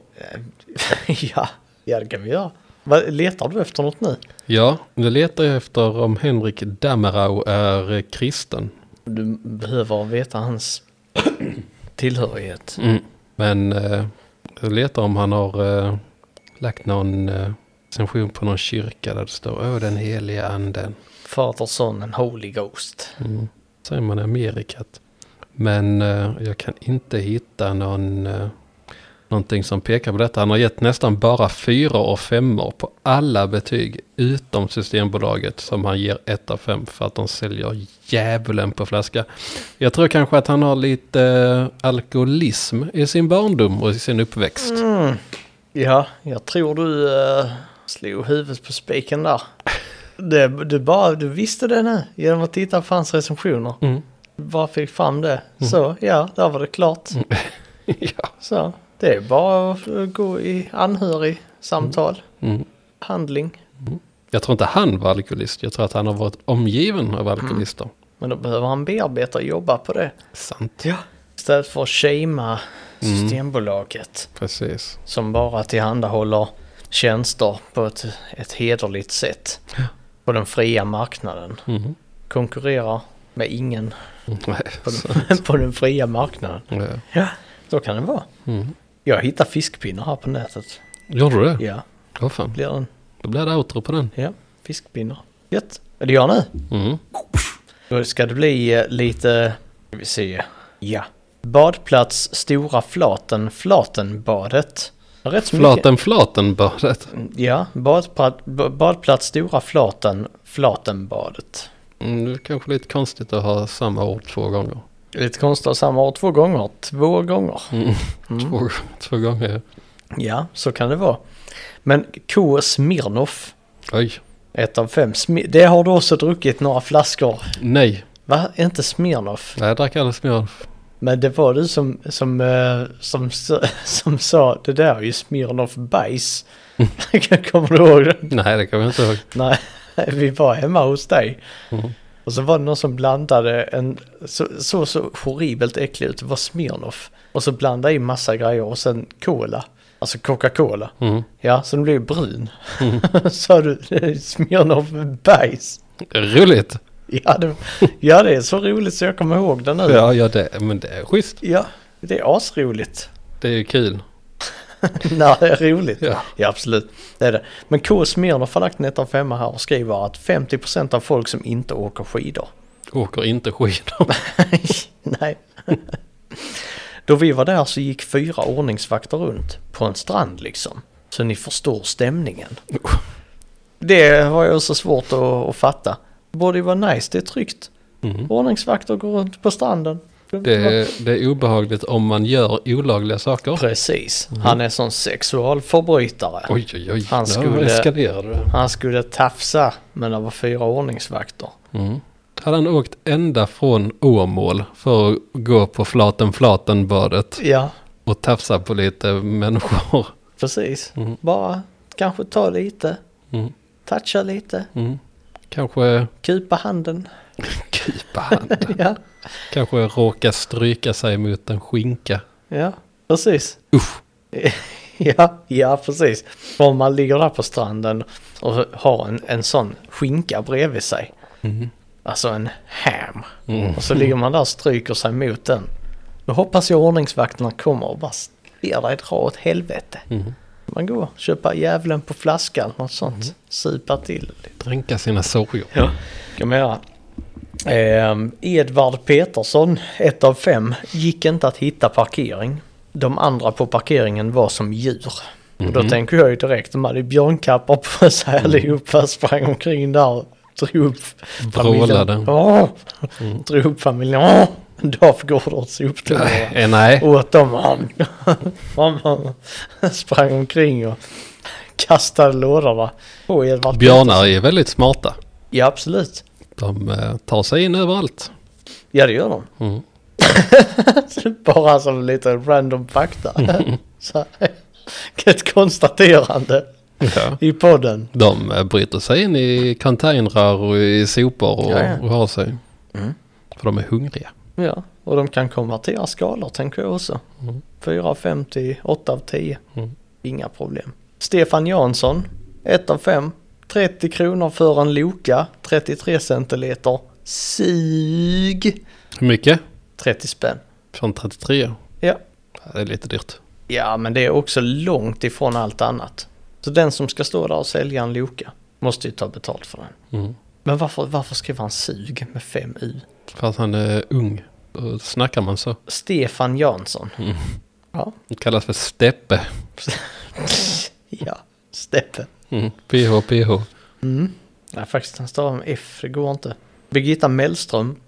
B: *laughs* ja, ja, det kan vi göra. Vad, letar du efter något nu?
A: Ja, nu letar jag efter om Henrik Damerau är eh, kristen.
B: Du behöver veta hans *coughs* tillhörighet.
A: Men eh, jag letar om han har eh, lagt någon eh, recension på någon kyrka där det står Åh, den heliga anden.
B: Fader, son, en holy ghost.
A: Säger man i Amerikat. Men eh, jag kan inte hitta någon, eh, någonting som pekar på detta. Han har gett nästan bara fyra och femmor på alla betyg utom Systembolaget som han ger ett av fem för att de säljer djävulen på flaska. Jag tror kanske att han har lite eh, alkoholism i sin barndom och i sin uppväxt.
B: Ja, jag tror du eh, slog huvudet på spiken där. Det, du, bara, du visste det nu genom att titta på hans recensioner.
A: Mm.
B: Du bara fick fram det. Så, ja, där var det klart.
A: *laughs* ja.
B: Så, det är bara att eh, gå i anhörigsamtal. Handling.
A: Jag tror inte han var alkoholist. Jag tror att han har varit omgiven av alkoholister.
B: Men då behöver han bearbeta och jobba på det.
A: Sant.
B: Ja. Istället för att shamea Systembolaget.
A: Precis.
B: som bara tillhandahåller tjänster på ett, ett hederligt sätt på den fria marknaden.
A: Mhm.
B: Konkurrerar med ingen
A: Nej, så,
B: *laughs* på den fria marknaden.
A: ja. Mhm.
B: Ja, så kan det vara. Jag hittar fiskpinnar här på nätet.
A: Gjorde du det?
B: Ja,
A: Ja, fan.
B: blir den.
A: Då blir det outro på den.
B: Ja, fiskpinnar. Gött. Är det jag nu?
A: Mm.
B: Då ska det bli eh, lite, ska vi se. Ja. Badplats Stora Flaten, Flatenbadet. Rätt så mycket-
A: Flaten, flaten badet.
B: Ja, badpla- ba- badplats Stora Flaten, Flatenbadet.
A: Mm, det är kanske lite konstigt att ha samma ord två gånger.
B: Lite konstigt att ha samma ord två gånger. Två gånger.
A: Två, två gånger.
B: Mm. Ja, så kan det vara. Men K. Smirnoff,
A: Oj.
B: ett av fem. Smi- det har du också druckit några flaskor.
A: Nej.
B: Va? Inte Smirnoff?
A: Nej, jag drack aldrig smör.
B: Men det var du som, som, eh, som, s- *laughs* som sa det där är ju Smirnoff *laughs* bajs. Kommer du ihåg det?
A: Nej, det kommer jag inte ihåg.
B: Nej, *laughs* vi var hemma hos dig.
A: Mm.
B: Och så var det någon som blandade en, så så, så horribelt äcklig ut, det var Smirnoff. Och så blandade i massa grejer och sen cola. Alltså Coca-Cola.
A: Mm.
B: Ja, så den blev brun. *laughs* Sa du Smirnoff bajs?
A: Roligt!
B: Ja det, ja, det är så roligt så jag kommer ihåg det nu.
A: Ja, ja det, men det är schysst.
B: Ja, det är asroligt. *laughs*
A: Det är ju kul.
B: Nej, det är roligt.
A: Ja.
B: Ja. absolut. Det är det. Men K. Smirnoff har lagt en etta och femma här och skriver att 50% av folk som inte åker skidor.
A: Åker inte skidor.
B: *laughs* Nej. Då vi var där så gick fyra ordningsvakter runt på en strand liksom. Så ni
A: *laughs*
B: förstår stämningen. Det har jag så svårt att, att fatta. Det borde ju vara nice, det är tryggt. Ordningsvakter går runt på stranden.
A: Mhm. Det är, det är obehagligt om man gör olagliga saker.
B: Precis, han är sån sexualförbrytare.
A: Mhm. Oj, oj, oj.
B: Han skulle-
A: Nu eskalerade det.
B: Han skulle tafsa men det var fyra ordningsvakter.
A: Mm. Hade han åkt ända från Åmål för att gå på flaten flaten badet
B: Ja,
A: och tafsa på lite människor. *laughs*
B: precis.
A: Mhm.
B: Bara kanske ta lite,
A: Mm.
B: toucha lite,
A: Kanske
B: kupa handen.
A: kupa handen.
B: *laughs* Ja,
A: Kanske råka stryka sig mot en skinka.
B: ja precis. *laughs*
A: Usch.
B: Ja, ja precis. Om man ligger där på stranden och har en, en sån skinka bredvid sig. Alltså en ham. Och så ligger man där och stryker sig mot den. Då hoppas jag ordningsvakterna kommer och bara ber dig dra åt helvete. Man går, köpa djävulen på flaskan, något sånt. Supa till.
A: Dränka sina sorger.
B: Ja. Kan man göra. Ehm, Edvard Petersson, ett av fem, gick inte att hitta parkering. De andra på parkeringen var som djur. Och då tänker jag ju direkt, de hade ju björnkappar på *laughs* sig allihopa, sprang omkring där och drog upp
A: Vrålade.
B: familjen. Åh! Drog upp familjen. Åh! Dafgård åt soptunnorna.
A: Eh, nej,
B: Åt dem. sprang omkring och kastade lådorna på Edvard
A: björnar är väldigt smarta.
B: Ja, absolut.
A: De eh, tar sig in överallt.
B: Ja, det gör de. *laughs*
A: Mm.
B: Bara som lite random fakta. Så här. Ett konstaterande i podden.
A: De eh, bryter sig in i containrar och i sopor och,
B: Ja, ja. Mm.
A: och har sig. För de är hungriga.
B: Ja, och de kan konvertera skalor tänker jag också. 4 av 5 till 8 av 10. Inga problem. Stefan Jansson, 1 av 5. 30 kronor för en Loka, 33 centiliter. Sug!
A: Hur mycket?
B: 30 spänn.
A: Från 33?
B: Ja,
A: Ja, Det är lite dyrt.
B: Ja, men det är också långt ifrån allt annat. Så den som ska stå där och sälja en Loka måste ju ta betalt för den.
A: Mm.
B: Men varför, varför skriver han sug med 5 u?
A: För att han är ung. Då snackar man så.
B: Stefan Jansson. Ja.
A: Det kallas för steppe.
B: ja, Steppe.
A: Mm. PH, PH.
B: Nej, faktiskt han stavar med F, det går inte. Birgitta Mellström,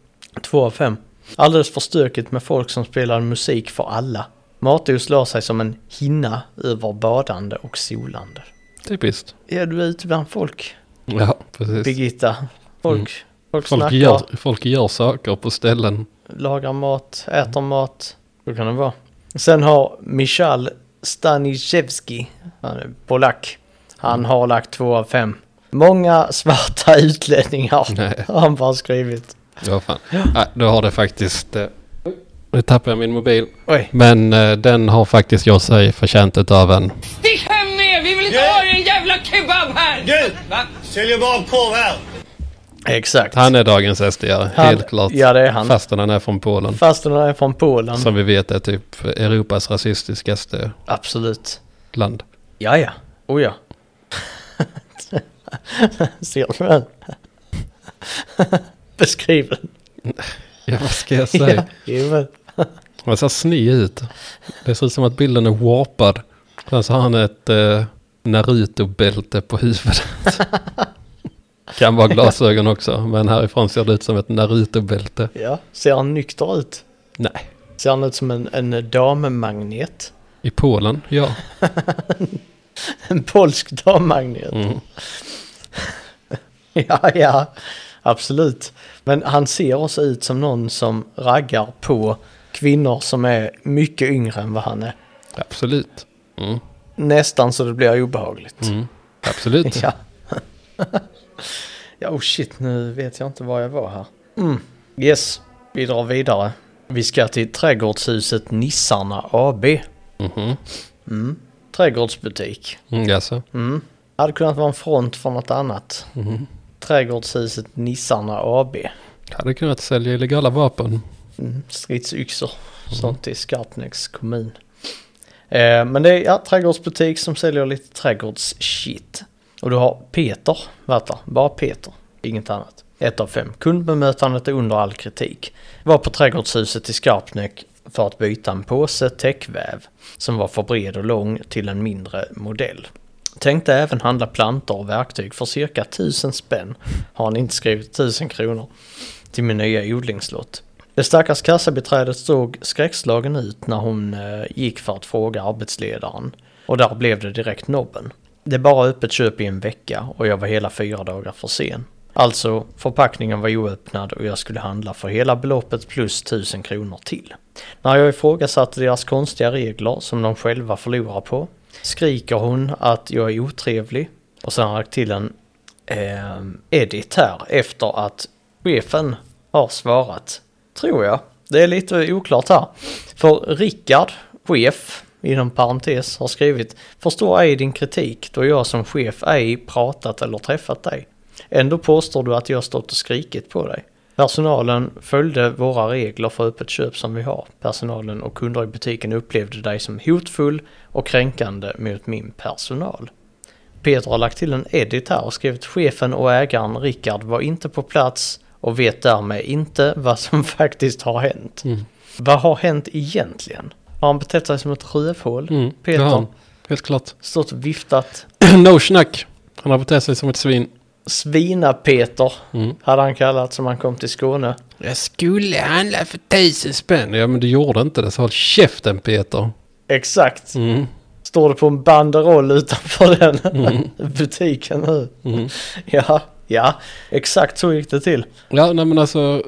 B: 2 av 5. Alldeles för stökigt med folk som spelar musik för alla. Matheus la sig som en hinna över badande och solande.
A: Typiskt.
B: Ja, du är ute bland folk,
A: Ja, precis.
B: Birgitta. Folk, folk,
A: Mm. Folk
B: snackar.
A: gör, folk gör saker på ställen.
B: lagar mat, äter mat. Så kan det vara. Sen har Michal Staniszewski, han är polack. Han har lagt två av fem. Många svarta utlänningar
A: *laughs* Nej.
B: har han bara skrivit.
A: Ja, fan. Nej, då har det faktiskt... eh, Nu tappar jag min mobil.
B: Oj,
A: Men eh, den har faktiskt gjort sig förtjänt utav en.
E: Stick hem med er! Vi vill inte
F: Ja.
E: ha er en jävla kebab här!
F: Du!
E: Va?
F: Säljer bara korv här.
B: exakt.
A: Han är dagens SD-are,
B: Han-
A: helt klart.
B: ja, det är han.
A: Fastän han är från Polen.
B: Fast den är från Polen.
A: Som vi vet är typ Europas rasistiskaste
B: Absolut.
A: land.
B: Ja, ja. Oh ja. *laughs* Ser du *laughs* den? Beskriv den.
A: Ja, vad ska jag säga?
B: Ja,
A: Han ser sny ut. Det ser ut som att bilden är warpad. Sen så har han ett eh, Naruto-bälte på huvudet. *laughs* kan vara glasögon också, men härifrån ser det ut som ett Naruto-bälte.
B: ja. Ser han nykter ut?
A: Nej,
B: Ser han ut som en, en dammagnet?
A: i Polen, ja.
B: En polsk dammagnet? *laughs* ja, ja. Absolut. Men han ser också ut som någon som raggar på kvinnor som är mycket yngre än vad han är.
A: Absolut. Mm.
B: Nästan så det blir obehagligt.
A: Absolut.
B: *laughs* Ja. ja, oh shit, nu vet jag inte var jag var här. Mm. Yes, vi drar vidare. Vi ska till trädgårdshuset Nissarna AB.
A: Mhm.
B: Mm. Trädgårdsbutik.
A: Mm, jaså?
B: Mm. Hade kunnat vara en front för något annat. Trädgårdshuset Nissarna AB.
A: Hade kunnat sälja illegala vapen.
B: Mm. Stridsyxor. Sånt i Skarpnäcks kommun. Eh, men det är ja, trädgårdsbutik som säljer lite trädgårdsshit. Och du har Peter, varit där. Bara Peter. Inget annat. Ett av fem. Kundbemötandet är under all kritik. Var på trädgårdshuset i Skarpnäck för att byta en påse täckväv som var för bred och lång till en mindre modell. Tänkte även handla plantor och verktyg för cirka 1000 spänn. Har han inte skrivit 1000 kronor? Till min nya odlingslott. Det stackars kassabiträdet såg skräckslagen ut när hon eh, gick för att fråga arbetsledaren. Och där blev det direkt nobben. Det är bara öppet köp i en vecka och jag var hela fyra dagar för sen. Alltså, förpackningen var oöppnad och jag skulle handla för hela beloppet plus 1000 kronor till. När jag ifrågasatte deras konstiga regler som de själva förlorar på skriker hon att jag är otrevlig och sen har jag lagt till en eh, edit här efter att chefen har svarat. Tror jag. Det är lite oklart här. För Rickard, chef, inom parentes, har skrivit Förstår ej din kritik då jag som chef ej pratat eller träffat dig. Ändå påstår du att jag stått och skrikit på dig. Personalen följde våra regler för öppet köp som vi har. Personalen och kunder i butiken upplevde dig som hotfull och kränkande mot min personal. Peter har lagt till en edit här och skrivit chefen och ägaren Rickard var inte på plats och vet därmed inte vad som *laughs* faktiskt har hänt.
A: Mm.
B: Vad har hänt egentligen? Har han betett sig som ett rövhål?
A: Mm. det
B: Peter,
A: har han. Helt klart. *clears throat*
B: stått och viftat.
A: no snack. Han har betett sig som ett svin.
B: Svina-Peter
A: Mm.
B: hade han kallat som han kom till Skåne.
A: Jag skulle handla för tusen spänn. Ja, men du gjorde inte det. Så håll käften Peter.
B: Exakt.
A: Mm.
B: Står det på en banderoll utanför den
A: Mm.
B: *laughs* butiken nu. Ja, ja, exakt så gick det till.
A: Ja, nej men alltså,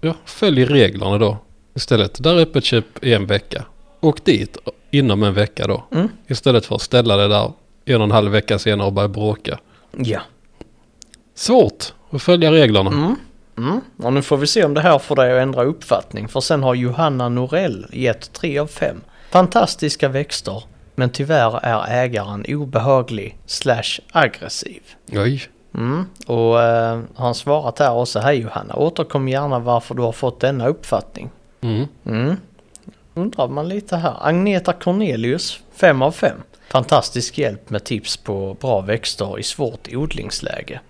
A: ja, följ reglerna då istället. Där är öppet köp i en vecka. Åk dit inom en vecka då.
B: Mm.
A: Istället för att ställa det där en och en halv vecka senare och börja bråka.
B: Ja.
A: Svårt att följa reglerna.
B: Mm. Och nu får vi se om det här får dig att ändra uppfattning. För sen har Johanna Norell gett 3 av 5. Fantastiska växter, men tyvärr är ägaren obehaglig slash aggressiv.
A: Oj.
B: Mm. Och eh, han svarat här också. Hej Johanna, återkom gärna varför du har fått denna uppfattning.
A: Mm.
B: Mm. Undrar man lite här. Agneta Cornelius, 5 av 5. Fantastisk hjälp med tips på bra växter i svårt odlingsläge.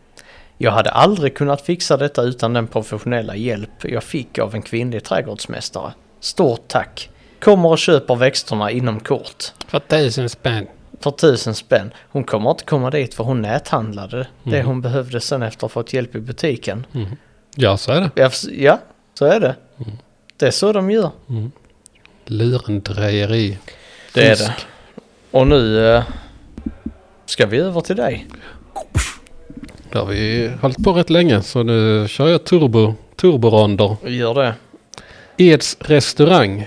B: Jag hade aldrig kunnat fixa detta utan den professionella hjälp jag fick av en kvinnlig trädgårdsmästare. Stort tack! Kommer och köper växterna inom kort.
A: För tusen spänn.
B: För tusen spänn. Hon kommer inte komma dit för hon näthandlade det hon behövde sen efter att ha fått hjälp i butiken.
A: Ja, så är det.
B: Ja, f- Ja, så är det. Det är så de gör.
A: Lurendrejeri.
B: Det är
A: Fisk.
B: det. Och nu eh, ska vi över till dig.
A: Där har vi hållit på rätt länge så nu kör jag turbo. Turboronder.
B: Vi gör det.
A: Eds restaurang.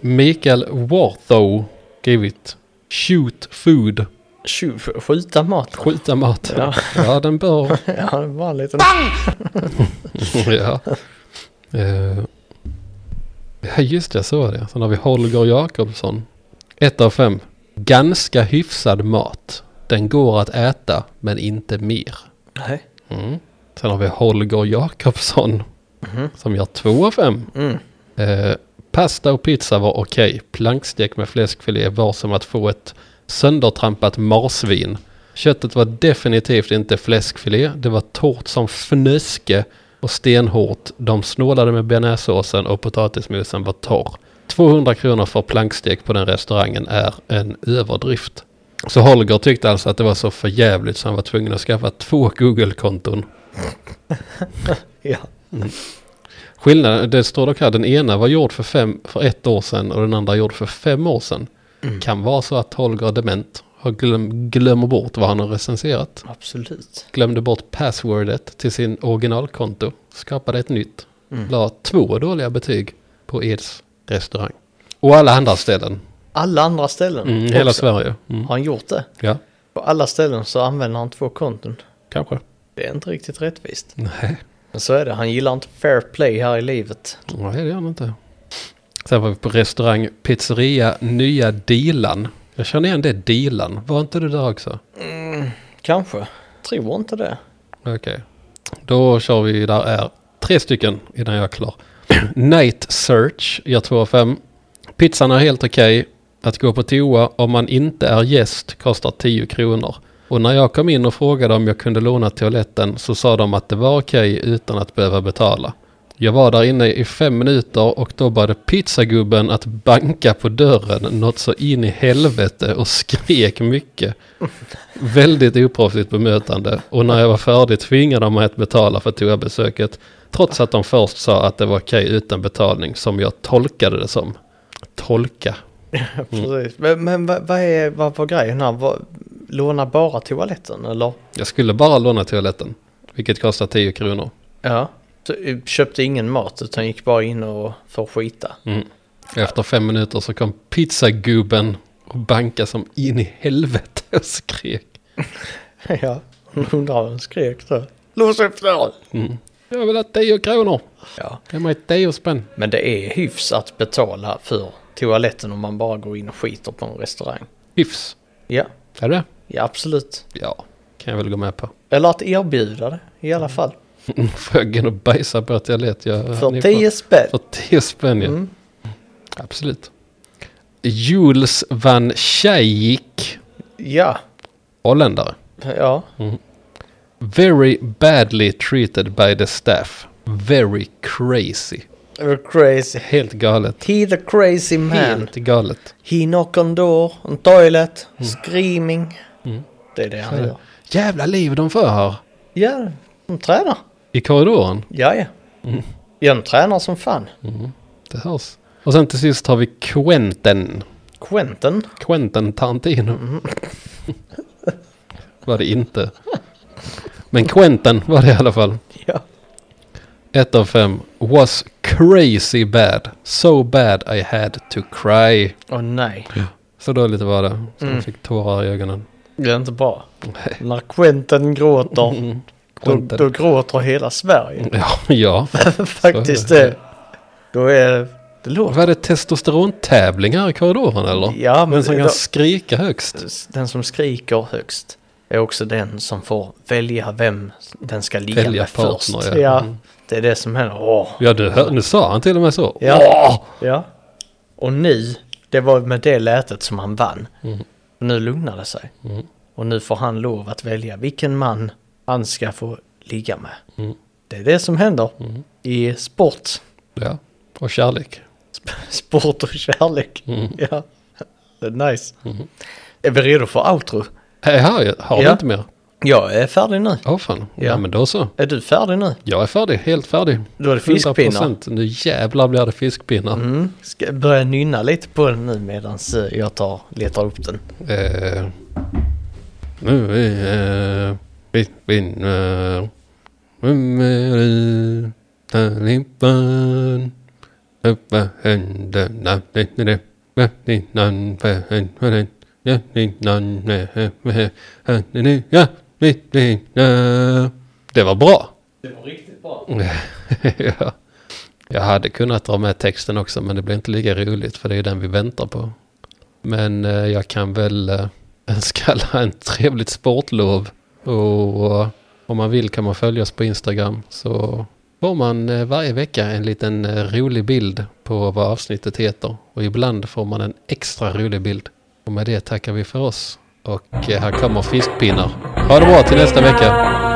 A: Mikael Warthow skrivit Shoot food.
B: Tju, skjuta mat.
A: Skjuta mat.
B: Ja.
A: Ja, den bör.
B: *laughs* Ja, det var en liten...
A: ja. Eh, ja, just det, så var det. Sen har vi Holger Jakobsson. Ett av fem. Ganska hyfsad mat. Den går att äta, men inte mer.
B: Nej.
A: Mm. Sen har vi Holger Jakobsson som gör två av fem. Eh, Pasta och pizza var okej. Plankstek med fläskfilé var som att få ett söndertrampat marsvin. Köttet var definitivt inte fläskfilé. Det var torrt som fnöske och stenhårt. De snålade med bearnaisesåsen och potatismusen var torr. 200 kronor för plankstek på den restaurangen är en överdrift. Så Holger tyckte alltså att det var så förjävligt så han var tvungen att skaffa två Google-konton.
B: Ja.
A: Skillnaden, det står dock här, den ena var gjord för, fem, för ett år sedan och den andra gjord för fem år sedan. Kan vara så att Holger är dement har glöm, glömmer bort vad han har recenserat.
B: Absolut.
A: Glömde bort passwordet till sin originalkonto. Skapade ett nytt. La två dåliga betyg på Eds restaurang. Och alla andra ställen.
B: Alla andra ställen
A: Mm,
B: också.
A: hela Sverige. Mm.
B: Har han gjort det?
A: Ja,
B: På alla ställen så använder han två konton.
A: kanske.
B: Det är inte riktigt rättvist.
A: Nej.
B: Men så är det. Han gillar inte fair play här i livet.
A: Nej, det gör han inte. Sen var vi på restaurang Pizzeria Nya Dilan. Jag känner igen det Dilan. Var inte du där också?
B: Kanske. Tror inte det.
A: Okej. Då kör vi där är tre stycken innan jag är klar. *clears throat* Night Search, jag 2 av 5. Pizzan är helt okej. Att gå på toa om man inte är gäst kostar 10 kronor. Och när jag kom in och frågade om jag kunde låna toaletten så sa de att det var okej utan att behöva betala. Jag var där inne i fem minuter och då började pizzagubben att banka på dörren något så in i helvete och skrek mycket. Väldigt oproffsigt bemötande och när jag var färdig tvingade de mig att betala för toabesöket. Trots att de först sa att det var okej utan betalning som jag tolkade det som. Tolka. Mm.
B: Precis. Men, men vad, vad, är, vad var grejen här? Vad, låna bara toaletten eller?
A: Jag skulle bara låna toaletten. Vilket kostar 10 kronor.
B: Ja. Så, eh, köpte ingen mat utan gick bara in och för att skita.
A: Efter fem minuter så kom pizzagubben och bankade som in i helvete och skrek. Mm.
B: *laughs* ja. Undrar vad han skrek då. Lås upp dörren!
A: Jag vill ha 10 kronor.
B: Ja.
A: Ge mig 10 spänn.
B: Men det är hyfs att betala för toaletten om man bara går in och skiter på en restaurang.
A: Hyfs.
B: Ja,
A: Är det?
B: ja absolut.
A: Ja, kan jag väl gå med på. *laughs*
B: Eller att erbjuda det i alla
A: Mm.
B: fall.
A: Fröggen och bajsa på att jag lät jag...
B: För
A: ni *laughs*
B: 10 spänn.
A: För 10 spänn ja. Absolut. Jules van Schaik,
B: Ja,
A: holländare.
B: ja.
A: Very badly treated by the staff. Very crazy.
B: You're crazy.
A: Helt galet.
B: He the crazy man.
A: Helt galet.
B: He knock on door, on toilet,
A: Mm.
B: screaming. Det är det han gör.
A: Jävla liv de för här.
B: Ja, de tränar.
A: I korridoren.
B: Ja, ja.
A: Mm.
B: Ja, de tränar som fan.
A: Det hörs. Och sen till sist har vi Quentin.
B: Quentin.
A: Quentin Tarantino. *laughs* var det inte. Men Quentin var det i alla fall.
B: Ja.
A: Ett av fem. Was crazy bad. So bad I had to cry.
B: Åh nej,
A: Så dåligt var det. Så
B: Mm.
A: jag fick tårar i ögonen.
B: det är inte bra. När Quentin gråter, då,
A: Mm. Quentin.
B: då gråter hela *laughs* Sverige.
A: *laughs* Ja, ja.
B: Faktiskt
A: Så är det.
B: det. Då är det låter.
A: Var det testosterontävling här i korridoren eller?
B: Ja, men
A: Vem som kan
B: då-
A: skrika högst?
B: den som skriker högst är också den som får välja vem den ska ligga
A: Välja
B: med
A: partner,
B: först.
A: ja. Mm.
B: det är det som händer. Åh.
A: Ja, du hör, nu sa han till och med så.
B: Ja. ja. Och nu, det var med det lätet som han vann. Och nu lugnade det sig. Och nu får han lov att välja vilken man han ska få ligga med. Det är det som händer i sport.
A: Ja. Och kärlek.
B: Sp- Sport och kärlek. Ja. Det är nice. Är vi redo för outro?
A: Äh, här, har du
B: Ja.
A: inte mer?
B: Jag är färdig nu.
A: Åh fan. Ja.
B: Ja.
A: men då så.
B: Är du färdig nu?
A: Jag är färdig, helt färdig.
B: Då är det fiskpinnar. Mm.
A: 100%. Nu jävlar blir det fiskpinnar.
B: Ska jag börja nynna lite på den nu medan eh, jag tar, letar upp den.
A: Eh, nu är eh, vi vinner. Vem är det? Taliban. Öppna händerna. Det är det. Ja, det är nån för helvete. Ja, det är nån med- med- med- Ja, det är- ja, det är- ja. Det var bra. Det var riktigt bra. *laughs* ja. Jag hade kunnat dra med texten också men det blir inte lika roligt för det är den vi väntar på. Men eh, jag kan väl eh, *laughs* önska alla en trevligt sportlov. Och eh, om man vill kan man följa oss på Instagram. Så får man eh, varje vecka en liten eh, rolig bild på vad avsnittet heter. Och ibland får man en extra rolig bild. Och med det tackar vi för oss. Och eh, här kommer fiskpinnar. Ha det bra till nästa vecka.